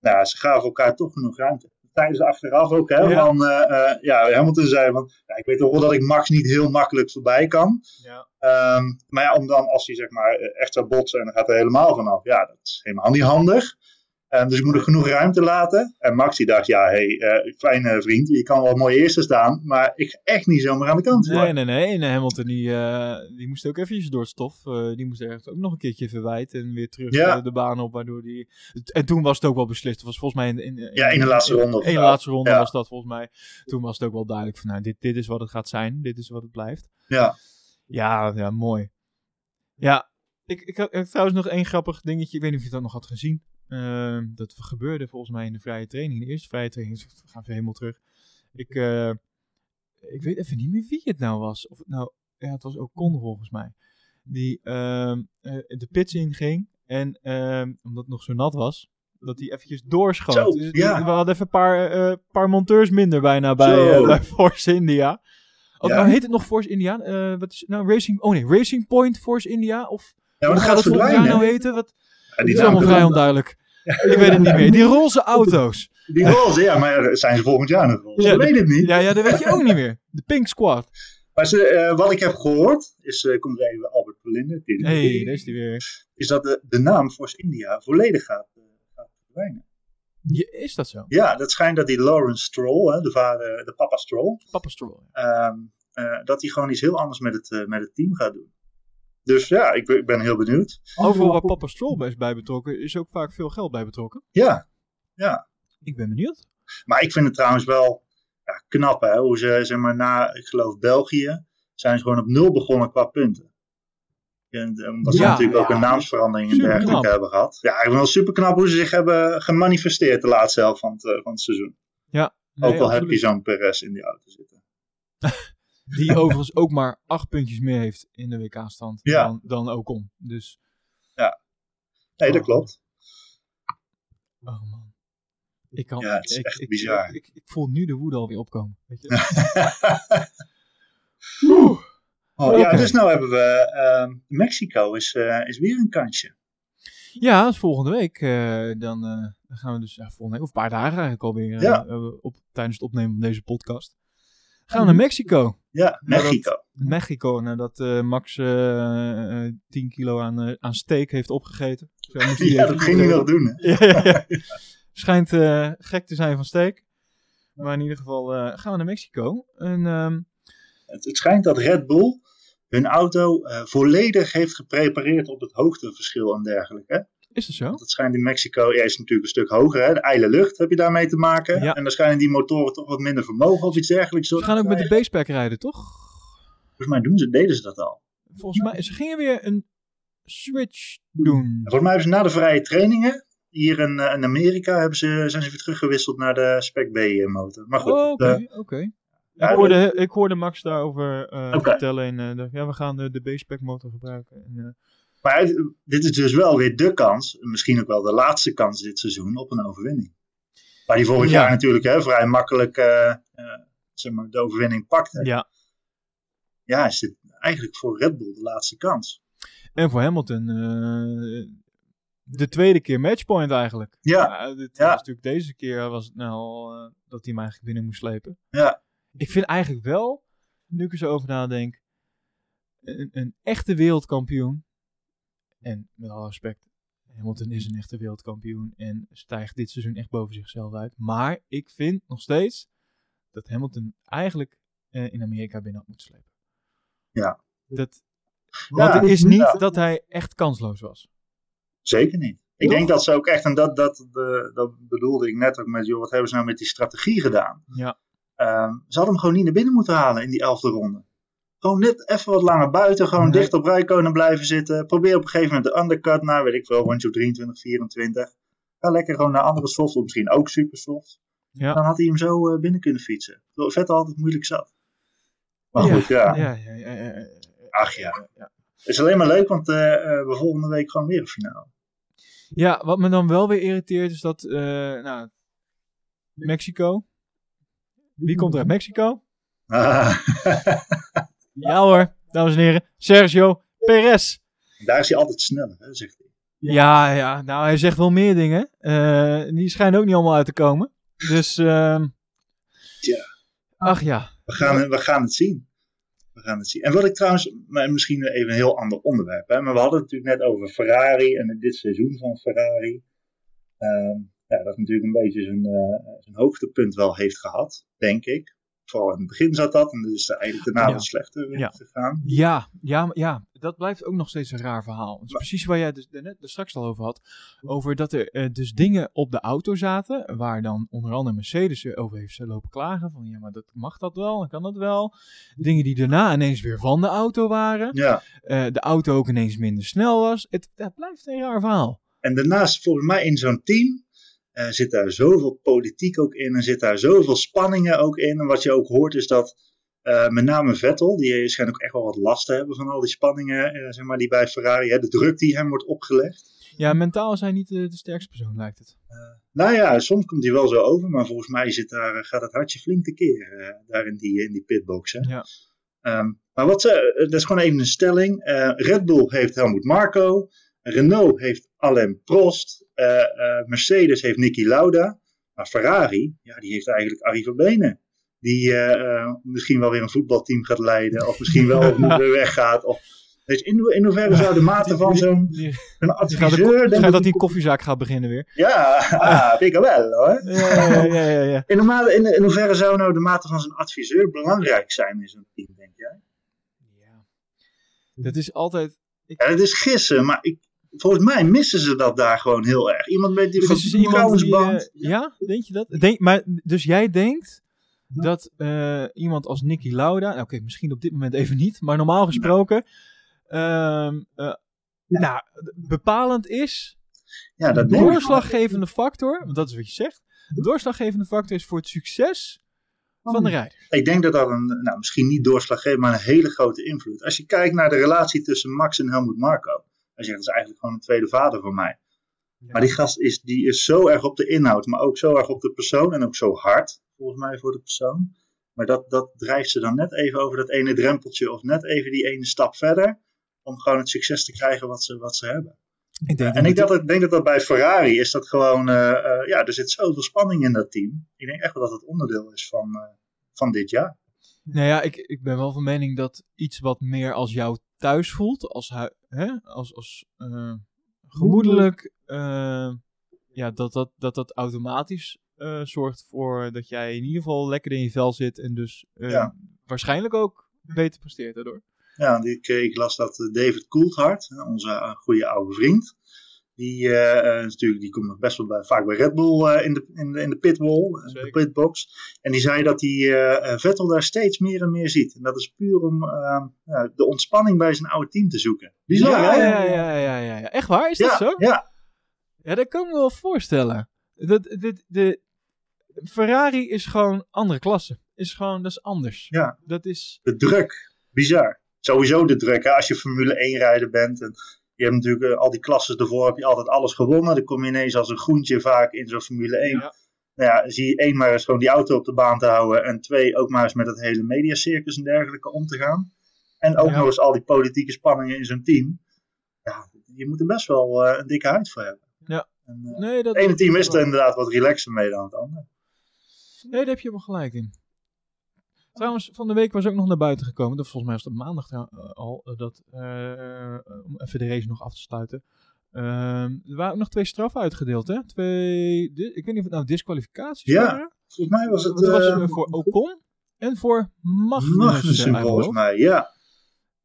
Speaker 2: nou, ze gaven elkaar toch genoeg ruimte. Tijdens achteraf ook, hè?
Speaker 1: Ja.
Speaker 2: Van, eh, eh, ja, Hamilton zei van, ja, ik weet toch wel dat ik Max niet heel makkelijk voorbij kan.
Speaker 1: Ja.
Speaker 2: Ehm, maar ja, om dan, als hij zeg maar eh, echt zou botsen en dan gaat er helemaal vanaf. Ja, dat is helemaal niet handig. Ehm, dus ik moet er genoeg ruimte laten. En Max die dacht, ja, hey, eh, fijne vriend, je kan wel mooi eerste staan, maar ik ga echt niet zomaar aan de kant. hoor.
Speaker 1: Nee, nee, nee. En eh, Hamilton die, eh, die moest ook eventjes door het stof. Eh, die moest ergens ook nog een keertje verwijt en weer terug
Speaker 2: Ja.
Speaker 1: eh, de baan op. Waardoor die... En toen was het ook wel beslist. Het was volgens mij in, in,
Speaker 2: Ja, in de laatste ronde of
Speaker 1: In de
Speaker 2: zo.
Speaker 1: laatste ronde
Speaker 2: Ja.
Speaker 1: was dat volgens mij. Toen was het ook wel duidelijk van nou, dit, dit is wat het gaat zijn. Dit is wat het blijft.
Speaker 2: Ja.
Speaker 1: Ja, ja, mooi. Ja, ik, ik had ik had trouwens nog één grappig dingetje. Ik weet niet of je dat nog had gezien. Ehm, dat gebeurde volgens mij in de vrije training. In de eerste vrije training. Dus we gaan even helemaal terug. Ik, eh, ik weet even niet meer wie het nou was. Of het nou, ja, het was Ocon volgens mij. Die ehm, eh, de pits inging. En ehm, omdat het nog zo nat was, dat hij eventjes doorschoot.
Speaker 2: Zo,
Speaker 1: Dus
Speaker 2: ja.
Speaker 1: We hadden even een paar, eh, paar monteurs minder bijna bij,
Speaker 2: Zo.
Speaker 1: eh, [laughs] bij Force India. Of,
Speaker 2: Ja.
Speaker 1: nou, heet het nog Force India? Eh, wat is het nou? Racing, oh nee, Racing Point Force India? Of
Speaker 2: Ja, maar
Speaker 1: hoe
Speaker 2: dat gaat
Speaker 1: het volgend jaar
Speaker 2: verdwijnen.
Speaker 1: nou heten? Wat,
Speaker 2: Ja,
Speaker 1: het
Speaker 2: die
Speaker 1: is allemaal
Speaker 2: naam-
Speaker 1: vrij onduidelijk. Ik weet het niet meer. Die
Speaker 2: [laughs]
Speaker 1: roze auto's.
Speaker 2: Die roze, ja, maar zijn ze volgend jaar nog roze?
Speaker 1: Ja,
Speaker 2: ik weet het niet.
Speaker 1: Ja, ja, dat weet je ook niet meer. De Pink Squad.
Speaker 2: Maar ze, eh, wat ik heb gehoord, is, eh, komt er even Albert Verlinde,
Speaker 1: hey, daar is die weer.
Speaker 2: is dat de, de naam Force India volledig gaat, eh, gaat verdwijnen.
Speaker 1: Je, is dat zo?
Speaker 2: Ja, dat schijnt dat die Lawrence Stroll, hè, de, vader, de papa Stroll,
Speaker 1: Papa Stroll.
Speaker 2: ehm, eh, dat hij gewoon iets heel anders met het, eh, met het team gaat doen. Dus ja, ik, ben- ik ben heel benieuwd.
Speaker 1: Overal waar Papa Stroll bij is bij betrokken, is ook vaak veel geld bij betrokken.
Speaker 2: Ja,
Speaker 1: Ik ben benieuwd.
Speaker 2: Maar ik vind het trouwens wel ja, knap, hè, hoe ze, zeg maar, na, ik geloof België, zijn ze gewoon op nul begonnen qua punten. eh, Omdat ze
Speaker 1: Ja,
Speaker 2: natuurlijk ook
Speaker 1: ja.
Speaker 2: een naamsverandering en
Speaker 1: Superknap.
Speaker 2: dergelijke hebben gehad. Ja, ik vind het wel super knap hoe ze zich hebben gemanifesteerd de laatste helft van het, eh, van het seizoen.
Speaker 1: Nee,
Speaker 2: ook al heb
Speaker 1: absoluut.
Speaker 2: je zo'n Perez in die auto zitten.
Speaker 1: Die overigens ook maar acht puntjes meer heeft in de WK-stand
Speaker 2: Ja.
Speaker 1: dan, dan Ocon. Dus,
Speaker 2: Nee, dat
Speaker 1: Oh. [laughs]
Speaker 2: klopt.
Speaker 1: oh man. Ik kan,
Speaker 2: Ja, het is
Speaker 1: ik,
Speaker 2: echt
Speaker 1: ik-
Speaker 2: bizar.
Speaker 1: Ik, ik, ik voel nu de woede alweer opkomen. Weet je?
Speaker 2: [laughs] Oh, Ja,
Speaker 1: Oké.
Speaker 2: dus nou hebben we ehm, Mexico is, eh, is weer een kansje.
Speaker 1: Ja, dat is volgende week. eh, dan eh, dan gaan we dus, ja, volgende week, of een paar dagen eigenlijk alweer, eh,
Speaker 2: Ja.
Speaker 1: eh, op, tijdens het opnemen van deze podcast. Gaan we naar Mexico.
Speaker 2: Ja,
Speaker 1: Nou, dat-
Speaker 2: Mexico.
Speaker 1: Mexico, nadat eh, Max eh, eh, 10 kilo aan, eh, aan steak heeft opgegeten. Zo moest hij
Speaker 2: ja,
Speaker 1: even
Speaker 2: dat ging hij
Speaker 1: opgeven.
Speaker 2: nog doen. Hè?
Speaker 1: ja, ja,
Speaker 2: [laughs]
Speaker 1: ja. Schijnt eh, gek te zijn van steek. Maar in ieder geval eh, gaan we naar Mexico. En, ehm,
Speaker 2: Het, het schijnt dat Red Bull hun auto eh, volledig heeft geprepareerd op het hoogteverschil en dergelijke. hè.
Speaker 1: is dat zo?
Speaker 2: Want het schijnt in Mexico, ja, is natuurlijk een stuk hoger. Hè? De ijle lucht heb je daarmee te maken.
Speaker 1: Ja.
Speaker 2: En dan schijnen die motoren toch wat minder vermogen of iets dergelijks.
Speaker 1: Ze gaan ook met de basepack rijden, toch?
Speaker 2: Volgens mij doen ze, deden ze dat al.
Speaker 1: Volgens mij, ze gingen weer een switch doen.
Speaker 2: En volgens mij hebben ze na de vrije trainingen, hier in, eh, in Amerika, hebben ze, zijn ze weer teruggewisseld naar de Spec B-motor. Maar goed,
Speaker 1: Oh,
Speaker 2: eh,
Speaker 1: Oké, oké.
Speaker 2: ja,
Speaker 1: Ik hoorde- Ik hoorde Max daarover eh,
Speaker 2: Oké.
Speaker 1: vertellen. En, eh, dacht, ja, we gaan de, de basepack motor gebruiken. En, eh,
Speaker 2: maar het- dit is dus wel weer de kans, misschien ook wel de laatste kans dit seizoen, op een overwinning. Waar die vorig
Speaker 1: Ja.
Speaker 2: jaar natuurlijk hè, vrij makkelijk eh, eh, zeg maar, de overwinning pakte. Ja.
Speaker 1: ja.
Speaker 2: is dit eigenlijk voor Red Bull de laatste kans.
Speaker 1: en voor Hamilton, eh, de tweede keer matchpoint eigenlijk.
Speaker 2: Ja,
Speaker 1: Ja, dit
Speaker 2: Ja.
Speaker 1: was natuurlijk deze keer was het nou al, eh, dat hij hem eigenlijk binnen moest slepen.
Speaker 2: Ja.
Speaker 1: Ik vind eigenlijk wel, nu ik er zo over nadenk, een, een echte wereldkampioen. En met alle respect, Hamilton is een echte wereldkampioen en stijgt dit seizoen echt boven zichzelf uit. Maar ik vind nog steeds dat Hamilton eigenlijk eh, in Amerika binnen had moeten slepen.
Speaker 2: Ja.
Speaker 1: Dat, want het is niet
Speaker 2: ja.
Speaker 1: dat hij echt kansloos was.
Speaker 2: Zeker niet. Ik
Speaker 1: Toch?
Speaker 2: denk dat ze ook echt, en dat, dat, de, dat bedoelde ik net ook met, joh, wat hebben ze nou met die strategie gedaan?
Speaker 1: Ja,
Speaker 2: Ehm, ze hadden hem gewoon niet naar binnen moeten halen in die elfde ronde. Gewoon net even wat langer buiten, gewoon
Speaker 1: Nee.
Speaker 2: dicht op Rijkonen blijven zitten. Probeer op een gegeven moment de undercut naar, weet ik veel, rondje op 23, 24. Ga lekker gewoon naar andere soft, of misschien ook super soft.
Speaker 1: Ja.
Speaker 2: Dan had hij hem zo eh, binnen kunnen fietsen. Terwijl Vettel altijd moeilijk zat. Maar
Speaker 1: Ja.
Speaker 2: goed, Nou, ja.
Speaker 1: ja, ja, ja, ja, ja.
Speaker 2: Ach ja. Het is alleen maar leuk, want eh, eh, we volgende week gewoon weer een finale. [laughs]
Speaker 1: Ja, wat me dan wel weer irriteert is dat, eh, nou, Mexico. Wie komt er uit Mexico? Ja hoor, dames en heren, Sergio Perez.
Speaker 2: Daar is hij altijd sneller, hè, zegt hij.
Speaker 1: Ja, ja, nou hij zegt wel meer dingen. Eh, die schijnen ook niet allemaal uit te komen. Dus, ehm
Speaker 2: Tja.
Speaker 1: Ach ja,
Speaker 2: We gaan, we gaan het zien. We gaan het zien. En wat ik trouwens, maar misschien even een heel ander onderwerp. Hè? Maar we hadden het natuurlijk net over Ferrari en dit seizoen van Ferrari. Ehm, ja, dat natuurlijk een beetje zijn, eh, zijn hoogtepunt wel heeft gehad, denk ik. Vooral in het begin zat dat en dat is er eigenlijk daarna
Speaker 1: Ja.
Speaker 2: wat slechter
Speaker 1: Ja.
Speaker 2: ja. gegaan.
Speaker 1: ja, ja, ja, dat blijft ook nog steeds een raar verhaal. Dat is precies waar jij dus net er straks al over had. Over dat er eh, dus dingen op de auto zaten, waar dan onder andere Mercedes er over heeft lopen klagen. Van ja, maar dat mag dat wel, en kan dat wel. Dingen die daarna ineens weer van de auto waren.
Speaker 2: Ja.
Speaker 1: Eh, de auto ook ineens minder snel was. Het, dat blijft een raar verhaal.
Speaker 2: En daarnaast, volgens mij, in zo'n team eh, zit daar zoveel politiek ook in en zit daar zoveel spanningen ook in. En wat je ook hoort is dat eh, met name Vettel, die schijnt ook echt wel wat last te hebben van al die spanningen, eh, zeg maar, die bij Ferrari, hè, de druk die hem wordt opgelegd.
Speaker 1: Ja, mentaal is hij niet eh, de sterkste persoon, lijkt het.
Speaker 2: Nou ja, soms komt hij wel zo over, maar volgens mij zit daar, eh, gaat het hartje flink tekeer eh daar in die, in die pitbox. Hè.
Speaker 1: Ja.
Speaker 2: Ehm, maar wat ze, dat is gewoon even een stelling. Eh, Red Bull heeft Helmut Marko. Renault heeft Alain Prost. eh, eh, Mercedes heeft Niki Lauda. Maar Ferrari, ja, die heeft eigenlijk Arie Verbenen. Die eh, eh, misschien wel weer een voetbalteam gaat leiden. Of misschien
Speaker 1: [laughs]
Speaker 2: wel weer weggaat. Of, dus in, ho- in hoeverre zou de mate van zo'n
Speaker 1: Die-
Speaker 2: een
Speaker 1: die gaat de ko-
Speaker 2: adviseur... denk
Speaker 1: schijnt dat hij
Speaker 2: ik-
Speaker 1: een koffiezaak gaat beginnen
Speaker 2: [laughs]
Speaker 1: weer.
Speaker 2: Ja, ah, vind ik wel hoor.
Speaker 1: Ja, ja, ja, ja. ja.
Speaker 2: In, de mate- in, in hoeverre zou nou de mate van zo'n adviseur belangrijk zijn in zo'n team, denk jij?
Speaker 1: ja. Dat is altijd...
Speaker 2: Ja, dat is gissen, maar ik, volgens mij missen ze dat daar gewoon heel erg. Iemand met die
Speaker 1: Dus is er iemand die, eh,
Speaker 2: vertrouwensband.
Speaker 1: ja, denk je dat? Denk, maar, dus jij denkt
Speaker 2: Hm?
Speaker 1: dat eh, iemand als Nicky Lauda, nou, oké, misschien op dit moment even niet, maar normaal gesproken Ehm, eh,
Speaker 2: Ja.
Speaker 1: Nou, bepalend is,
Speaker 2: Ja,
Speaker 1: de
Speaker 2: dat denk ik. Hm?
Speaker 1: doorslaggevende factor, want dat is wat je zegt, de doorslaggevende factor is voor het succes van de rijder.
Speaker 2: Ik denk dat dat een, nou, misschien niet doorslaggevend, maar een hele grote invloed. Als je kijkt naar de relatie tussen Max en Helmut Marco. Hij zegt, dat is eigenlijk gewoon een tweede vader voor mij. Maar die gast is, die is zo erg op de inhoud, maar ook zo erg op de persoon. En ook zo hard, volgens mij, voor de persoon. Maar dat, dat drijft ze dan net even over dat ene drempeltje. Of net even die ene stap verder. Om gewoon het succes te krijgen wat ze, wat ze hebben.
Speaker 1: ik denk
Speaker 2: En ik
Speaker 1: dat
Speaker 2: dat, ik denk dat dat bij Ferrari is dat gewoon, eh, eh, ja, er zit zoveel spanning in dat team. Ik denk echt wel dat het onderdeel is van, eh, van dit jaar.
Speaker 1: Nou ja, ik, ik ben wel van mening dat iets wat meer als jou thuis voelt, als, hui- hè, als, als eh, gemoedelijk, eh, ja, dat, dat, dat dat automatisch eh, zorgt voor dat jij in ieder geval lekker in je vel zit en dus eh,
Speaker 2: Ja.
Speaker 1: waarschijnlijk ook beter presteert daardoor.
Speaker 2: Ja, want ik, eh, ik las dat eh, David Coulthard, eh, onze eh, goede oude vriend, die, eh, eh, is natuurlijk, die komt nog best wel bij, vaak bij Red Bull eh, in, de, in, de, in de pitwall, eh, de
Speaker 1: Zeker.
Speaker 2: pitbox. En die zei dat hij eh, eh, Vettel daar steeds meer en meer ziet. En dat is puur om eh, ja, de ontspanning bij zijn oude team te zoeken. Bizar,
Speaker 1: ja,
Speaker 2: hè?
Speaker 1: ja, ja, ja, ja, ja. Echt waar? Is dat zo?
Speaker 2: ja,
Speaker 1: Ja, dat kan ik me wel voorstellen. Dat, dit, de, Ferrari is gewoon andere klasse. Is gewoon, dat is anders.
Speaker 2: Ja.
Speaker 1: Dat is...
Speaker 2: De druk. Bizar. Sowieso de druk. Hè? Als je Formule 1 rijder bent. En je hebt natuurlijk eh, al die klasses ervoor. Heb je altijd alles gewonnen. Dan kom je ineens als een groentje vaak in zo'n Formule 1.
Speaker 1: Ja.
Speaker 2: Nou ja, zie je één maar eens gewoon die auto op de baan te houden. En twee ook maar eens met het hele mediacircus en dergelijke om te gaan. En ook
Speaker 1: Ja.
Speaker 2: nog eens al die politieke spanningen in zo'n team. Ja, je moet er best wel eh, een dikke huid voor hebben.
Speaker 1: Ja.
Speaker 2: En, eh,
Speaker 1: Nee, dat
Speaker 2: het ene team is
Speaker 1: wel.
Speaker 2: er inderdaad wat relaxer mee dan het andere.
Speaker 1: Nee, daar heb je helemaal gelijk in. Trouwens, van de week was ook nog naar buiten gekomen. Dat volgens mij was het op maandag trouw- eh, al. eh, Dat, eh, om even de race nog af te sluiten. Ehm, er waren ook nog twee straffen uitgedeeld, hè? Twee, di- ik weet niet of het nou disqualificaties
Speaker 2: Ja,
Speaker 1: waren.
Speaker 2: Volgens mij was het...
Speaker 1: Dat was
Speaker 2: eh,
Speaker 1: eh, voor Ocon en voor Magnussen.
Speaker 2: Magnussen
Speaker 1: uit mijn
Speaker 2: volgens
Speaker 1: hoofd.
Speaker 2: mij, ja.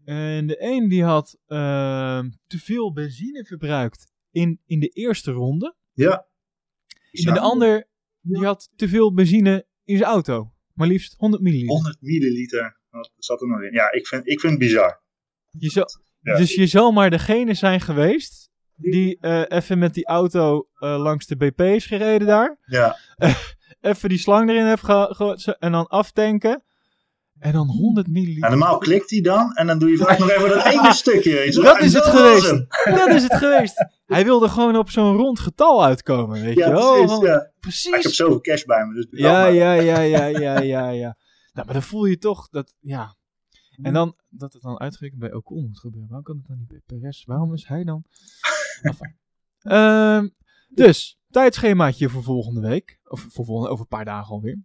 Speaker 1: En de een die had ehm, te veel benzine verbruikt in, in de eerste ronde.
Speaker 2: ja.
Speaker 1: En de ander die had te veel benzine in zijn auto. Maar liefst 100 milliliter.
Speaker 2: 100 milliliter wat zat er nog in. Ja, ik vind, ik vind het bizar.
Speaker 1: Je zou,
Speaker 2: Ja.
Speaker 1: Dus je zal maar degene zijn geweest die eh, even met die auto eh, langs de BP is gereden daar.
Speaker 2: Ja,
Speaker 1: Even die slang erin heeft gegooid en dan aftanken. En dan 100 milliliter.
Speaker 2: en normaal klikt hij dan en dan doe je vaak nog even dat
Speaker 1: [laughs]
Speaker 2: ene stukje. weet je wel.
Speaker 1: Dat
Speaker 2: En
Speaker 1: is het
Speaker 2: dat
Speaker 1: geweest.
Speaker 2: was hem.
Speaker 1: Dat is het geweest. Hij wilde gewoon op zo'n rond getal uitkomen, weet
Speaker 2: Ja,
Speaker 1: je wel.
Speaker 2: precies.
Speaker 1: Gewoon-
Speaker 2: ja.
Speaker 1: precies.
Speaker 2: Maar Ik heb zoveel cash bij me, dus doe
Speaker 1: Ja,
Speaker 2: dat maar.
Speaker 1: ja, ja, ja, ja, ja, ja. Nou, maar dan voel je toch dat, ja. En dan, dat het dan uitgerekend bij Ocon moet gebeuren. Waarom kan het dan niet bij Perez? Waarom is hij dan? Enfin. Ehm, dus, tijdschemaatje voor volgende week. Of voor volgende, over een paar dagen alweer.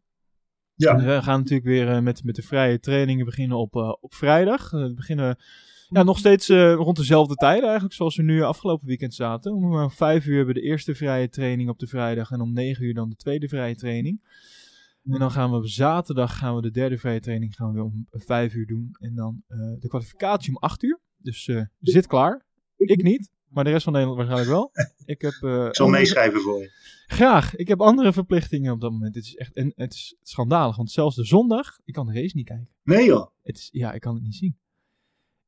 Speaker 2: Ja.
Speaker 1: We gaan natuurlijk weer eh, met, met de vrije trainingen beginnen op, eh, op vrijdag. Eh, we beginnen ja, nog steeds eh, rond dezelfde tijden eigenlijk, zoals we nu afgelopen weekend zaten. Om eh, vijf uur hebben we de eerste vrije training op de vrijdag en om negen uur dan de tweede vrije training. En dan gaan we op zaterdag gaan we de derde vrije training gaan we weer om eh, vijf uur doen. En dan eh, de kwalificatie om acht uur. Dus eh, zit klaar. Ik niet, maar de rest van Nederland waarschijnlijk wel. Ik heb... eh,
Speaker 2: Ik zal
Speaker 1: andere-
Speaker 2: meeschrijven voor je.
Speaker 1: Graag. Ik heb andere verplichtingen op dat moment. Dit is echt, en het is schandalig, want zelfs de zondag, ik kan de race niet kijken.
Speaker 2: Nee joh.
Speaker 1: Het is, ja, ik kan het niet zien.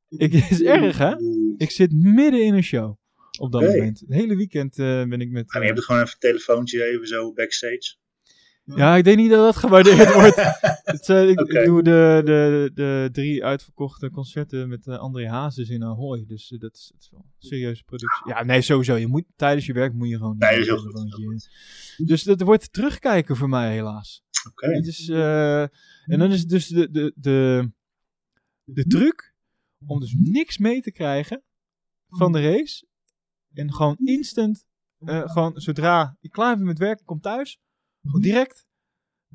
Speaker 1: Ik, het is erg, hè? Ik zit midden in een show op dat
Speaker 2: Hey.
Speaker 1: moment. Het hele weekend eh, ben ik met...
Speaker 2: Ja, maar je hebt het gewoon even een telefoontje even zo backstage.
Speaker 1: eh, ja, ik denk niet dat dat gewaardeerd wordt.
Speaker 2: [laughs]
Speaker 1: Het, eh, ik, ik
Speaker 2: Oké.
Speaker 1: doe de, de, de drie uitverkochte concerten met eh, André Hazes in Ahoy. Dus eh, dat, is, dat is wel een serieuze productie. Ja, nee, sowieso. Je moet, tijdens je werk moet je gewoon...
Speaker 2: Nee,
Speaker 1: niet
Speaker 2: dat is heel
Speaker 1: een
Speaker 2: goed, heel
Speaker 1: telefoontje- Dus dat wordt terugkijken voor mij helaas.
Speaker 2: Oké.
Speaker 1: Het is, eh, en dan is het dus de, de, de, de truc om dus niks mee te krijgen van de race. En gewoon instant, eh, gewoon zodra ik klaar ben met werken, kom thuis. Gewoon direct.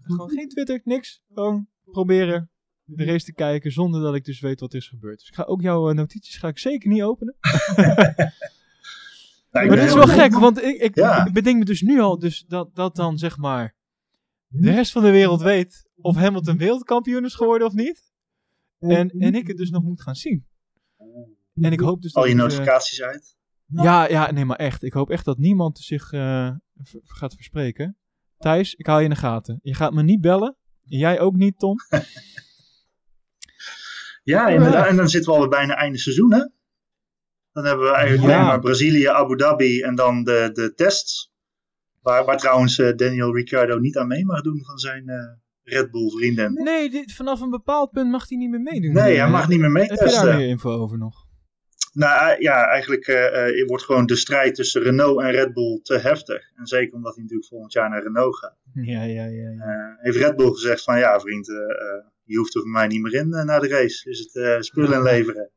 Speaker 1: Gewoon geen Twitter, niks. Gewoon proberen de race te kijken zonder dat ik dus weet wat er is gebeurd. Dus ik ga ook jouw eh, notities ga ik zeker niet openen.
Speaker 2: Nou, ik
Speaker 1: Maar
Speaker 2: ben
Speaker 1: dat is wel
Speaker 2: heel benieuwd.
Speaker 1: gek, want ik, ik
Speaker 2: Ja.
Speaker 1: bedenk me dus nu al dus dat, dat dan zeg maar de rest van de wereld weet of Hamilton wereldkampioen is geworden of niet. En, en ik het dus nog moet gaan zien. En ik hoop dus dat...
Speaker 2: Al Oh, je
Speaker 1: het, eh,
Speaker 2: notificaties uit.
Speaker 1: ja, ja, nee, maar echt. Ik hoop echt dat niemand zich eh, v- gaat verspreken. Thijs, ik haal je in de gaten. Je gaat me niet bellen. En jij ook niet, Tom.
Speaker 2: Ja, inderdaad. En dan zitten we alweer bijna einde seizoen hè. Dan hebben we eigenlijk
Speaker 1: Ja.
Speaker 2: alleen maar Brazilië, Abu Dhabi en dan de, de tests. Waar, waar trouwens eh, Daniel Ricciardo niet aan mee mag doen van zijn eh, Red Bull vrienden.
Speaker 1: Nee, dit, vanaf een bepaald punt mag hij niet meer meedoen. Eh,
Speaker 2: Nee, hij mag niet meer
Speaker 1: Heb je daar
Speaker 2: meetesten.
Speaker 1: meer info over nog?
Speaker 2: Nou eh, ja, eigenlijk eh, eh, wordt gewoon de strijd tussen Renault en Red Bull te heftig. En zeker omdat hij natuurlijk volgend jaar naar Renault gaat.
Speaker 1: Ja, ja, ja. ja.
Speaker 2: Eh, heeft Red Bull gezegd van ja vriend, eh, eh, je hoeft er voor mij niet meer in eh, na de race. Dus het eh, spullen leveren,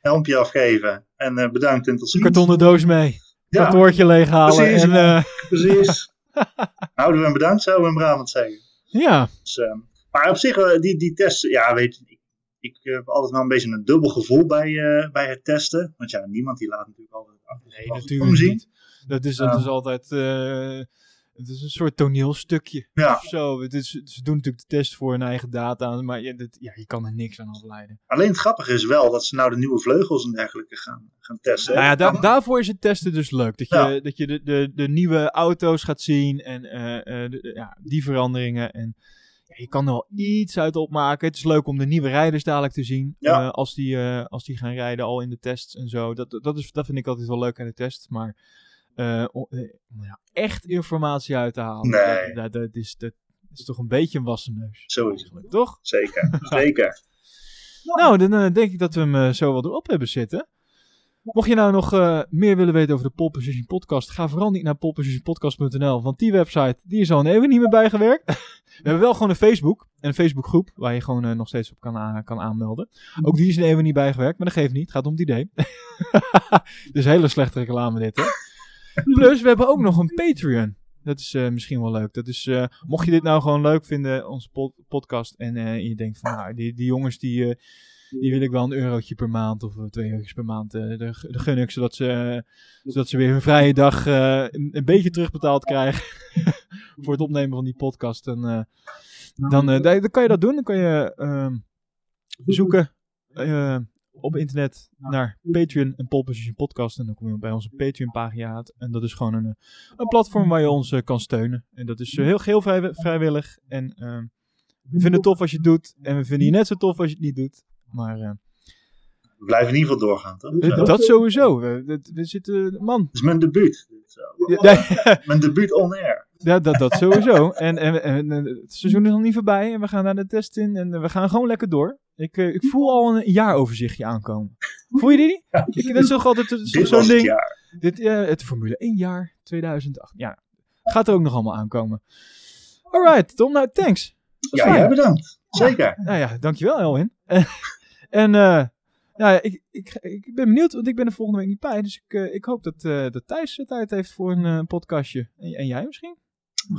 Speaker 2: helmpje afgeven en eh, bedankt en tot
Speaker 1: Een
Speaker 2: ziens.
Speaker 1: kartonnen doos mee.
Speaker 2: ja,
Speaker 1: Kantoortje leeghalen.
Speaker 2: Precies.
Speaker 1: En, eh,
Speaker 2: precies. Nou, Houden we hem bedankt, zouden we hem Brabant zeggen.
Speaker 1: ja,
Speaker 2: Dus, eh, maar op zich, eh, die, die test, ja weet je, ik, ik eh, heb altijd wel een beetje een dubbel gevoel bij, eh, bij het testen. Want ja, niemand die laat natuurlijk altijd achter
Speaker 1: nee,
Speaker 2: zich wel
Speaker 1: natuurlijk
Speaker 2: omzien.
Speaker 1: niet. Dat is, dat
Speaker 2: Ja.
Speaker 1: is altijd... eh, het is een soort toneelstukje
Speaker 2: Ja.
Speaker 1: of zo. Het is, ze doen natuurlijk de test voor hun eigen data, maar je, dit- ja, je kan er niks aan afleiden.
Speaker 2: Alleen het grappige is wel dat ze nou de nieuwe vleugels en dergelijke gaan, gaan testen.
Speaker 1: Nou ja, da- daarvoor is het testen dus leuk. Dat je,
Speaker 2: Ja.
Speaker 1: dat je de, de, de nieuwe auto's gaat zien en eh, eh, de- de- ja, die veranderingen. En ja, je kan er wel iets uit opmaken. Het is leuk om de nieuwe rijders dadelijk te zien.
Speaker 2: Ja.
Speaker 1: eh, als, die, eh, als die gaan rijden al in de tests en zo. Dat, dat, is, dat vind ik altijd wel leuk aan de test. Maar eh, om eh, om ja, echt informatie uit te halen,
Speaker 2: Nee.
Speaker 1: dat, dat, dat is, dat is toch een beetje een wassen neus.
Speaker 2: Sowieso.
Speaker 1: Eigenlijk, Toch? [laughs]
Speaker 2: Zeker, zeker.
Speaker 1: Nou, dan eh, denk ik dat we hem eh, zo wel erop hebben zitten. Mocht je nou nog eh, meer willen weten over de Pole Position Podcast, ga vooral niet naar polepositionpodcast.nl, want die website die is al een eeuwen niet meer bijgewerkt. [laughs] We hebben wel gewoon een Facebook, een Facebookgroep, waar je gewoon eh, nog steeds op kan, a- kan aanmelden. Ook die is een eeuwen niet bijgewerkt, maar dat geeft niet, het gaat om het idee. [laughs] dus hele slechte reclame dit, hè. Plus, we hebben ook nog een Patreon. Dat is eh, misschien wel leuk. Dat is, eh, mocht je dit nou gewoon leuk vinden, onze pod- podcast, en eh, je denkt van, nou, die, die jongens die... eh, die wil ik wel een eurotje per maand of eh, twee eurotjes per maand. eh de, de gun ik, zodat ze, eh, zodat ze weer hun vrije dag eh, een, een beetje terugbetaald krijgen. [laughs] voor het opnemen van die podcast. En, eh, dan, eh, dan, dan kan je dat doen. Dan kan je ehm, zoeken eh, op internet naar Patreon en Pole Position Podcast. En dan kom je bij onze Patreon pagina uit. En dat is gewoon een, eh, een platform waar je ons eh, kan steunen. En dat is eh, heel geheel vrij, vrijwillig. En ehm, we vinden het tof als je het doet. En we vinden je net zo tof als je het niet doet. Maar eh,
Speaker 2: We blijven in ieder geval doorgaan, toch? Zo.
Speaker 1: d- dat sowieso. We, dat- we zitten, eh, man.
Speaker 2: Dat is mijn debuut. Zo.
Speaker 1: Ja, [laughs]
Speaker 2: Mijn debuut on air.
Speaker 1: dat, dat, dat sowieso. En, en, en en het seizoen is nog niet voorbij. En we gaan naar de test in. En eh, we gaan gewoon lekker door. Ik, eh, ik voel al een jaaroverzichtje aankomen. Voel je die? Ik, dat is toch altijd dat is toch
Speaker 2: Dit
Speaker 1: zo'n
Speaker 2: was het
Speaker 1: ding.
Speaker 2: jaar.
Speaker 1: Dit, eh, het Formule 1 jaar 2008. Ja, gaat er ook nog allemaal aankomen. Alright, Tom. Nou, thanks. Dat was
Speaker 2: Ja,
Speaker 1: fijn.
Speaker 2: jij bedankt. Zeker.
Speaker 1: Nou ja, dankjewel Elwin. [laughs] en eh nou ja, ik, ik, ik ben benieuwd, want ik ben er volgende week niet bij. Dus ik, eh, ik hoop dat, eh, dat Thijs de tijd heeft voor een eh, podcastje. En, en jij misschien?
Speaker 2: We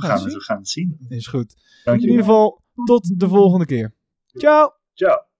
Speaker 1: gaan
Speaker 2: gaan
Speaker 1: het
Speaker 2: het, we gaan het zien.
Speaker 1: Is goed. In
Speaker 2: Dank
Speaker 1: ieder
Speaker 2: je.
Speaker 1: geval, tot de volgende keer. Ciao!
Speaker 2: Ciao.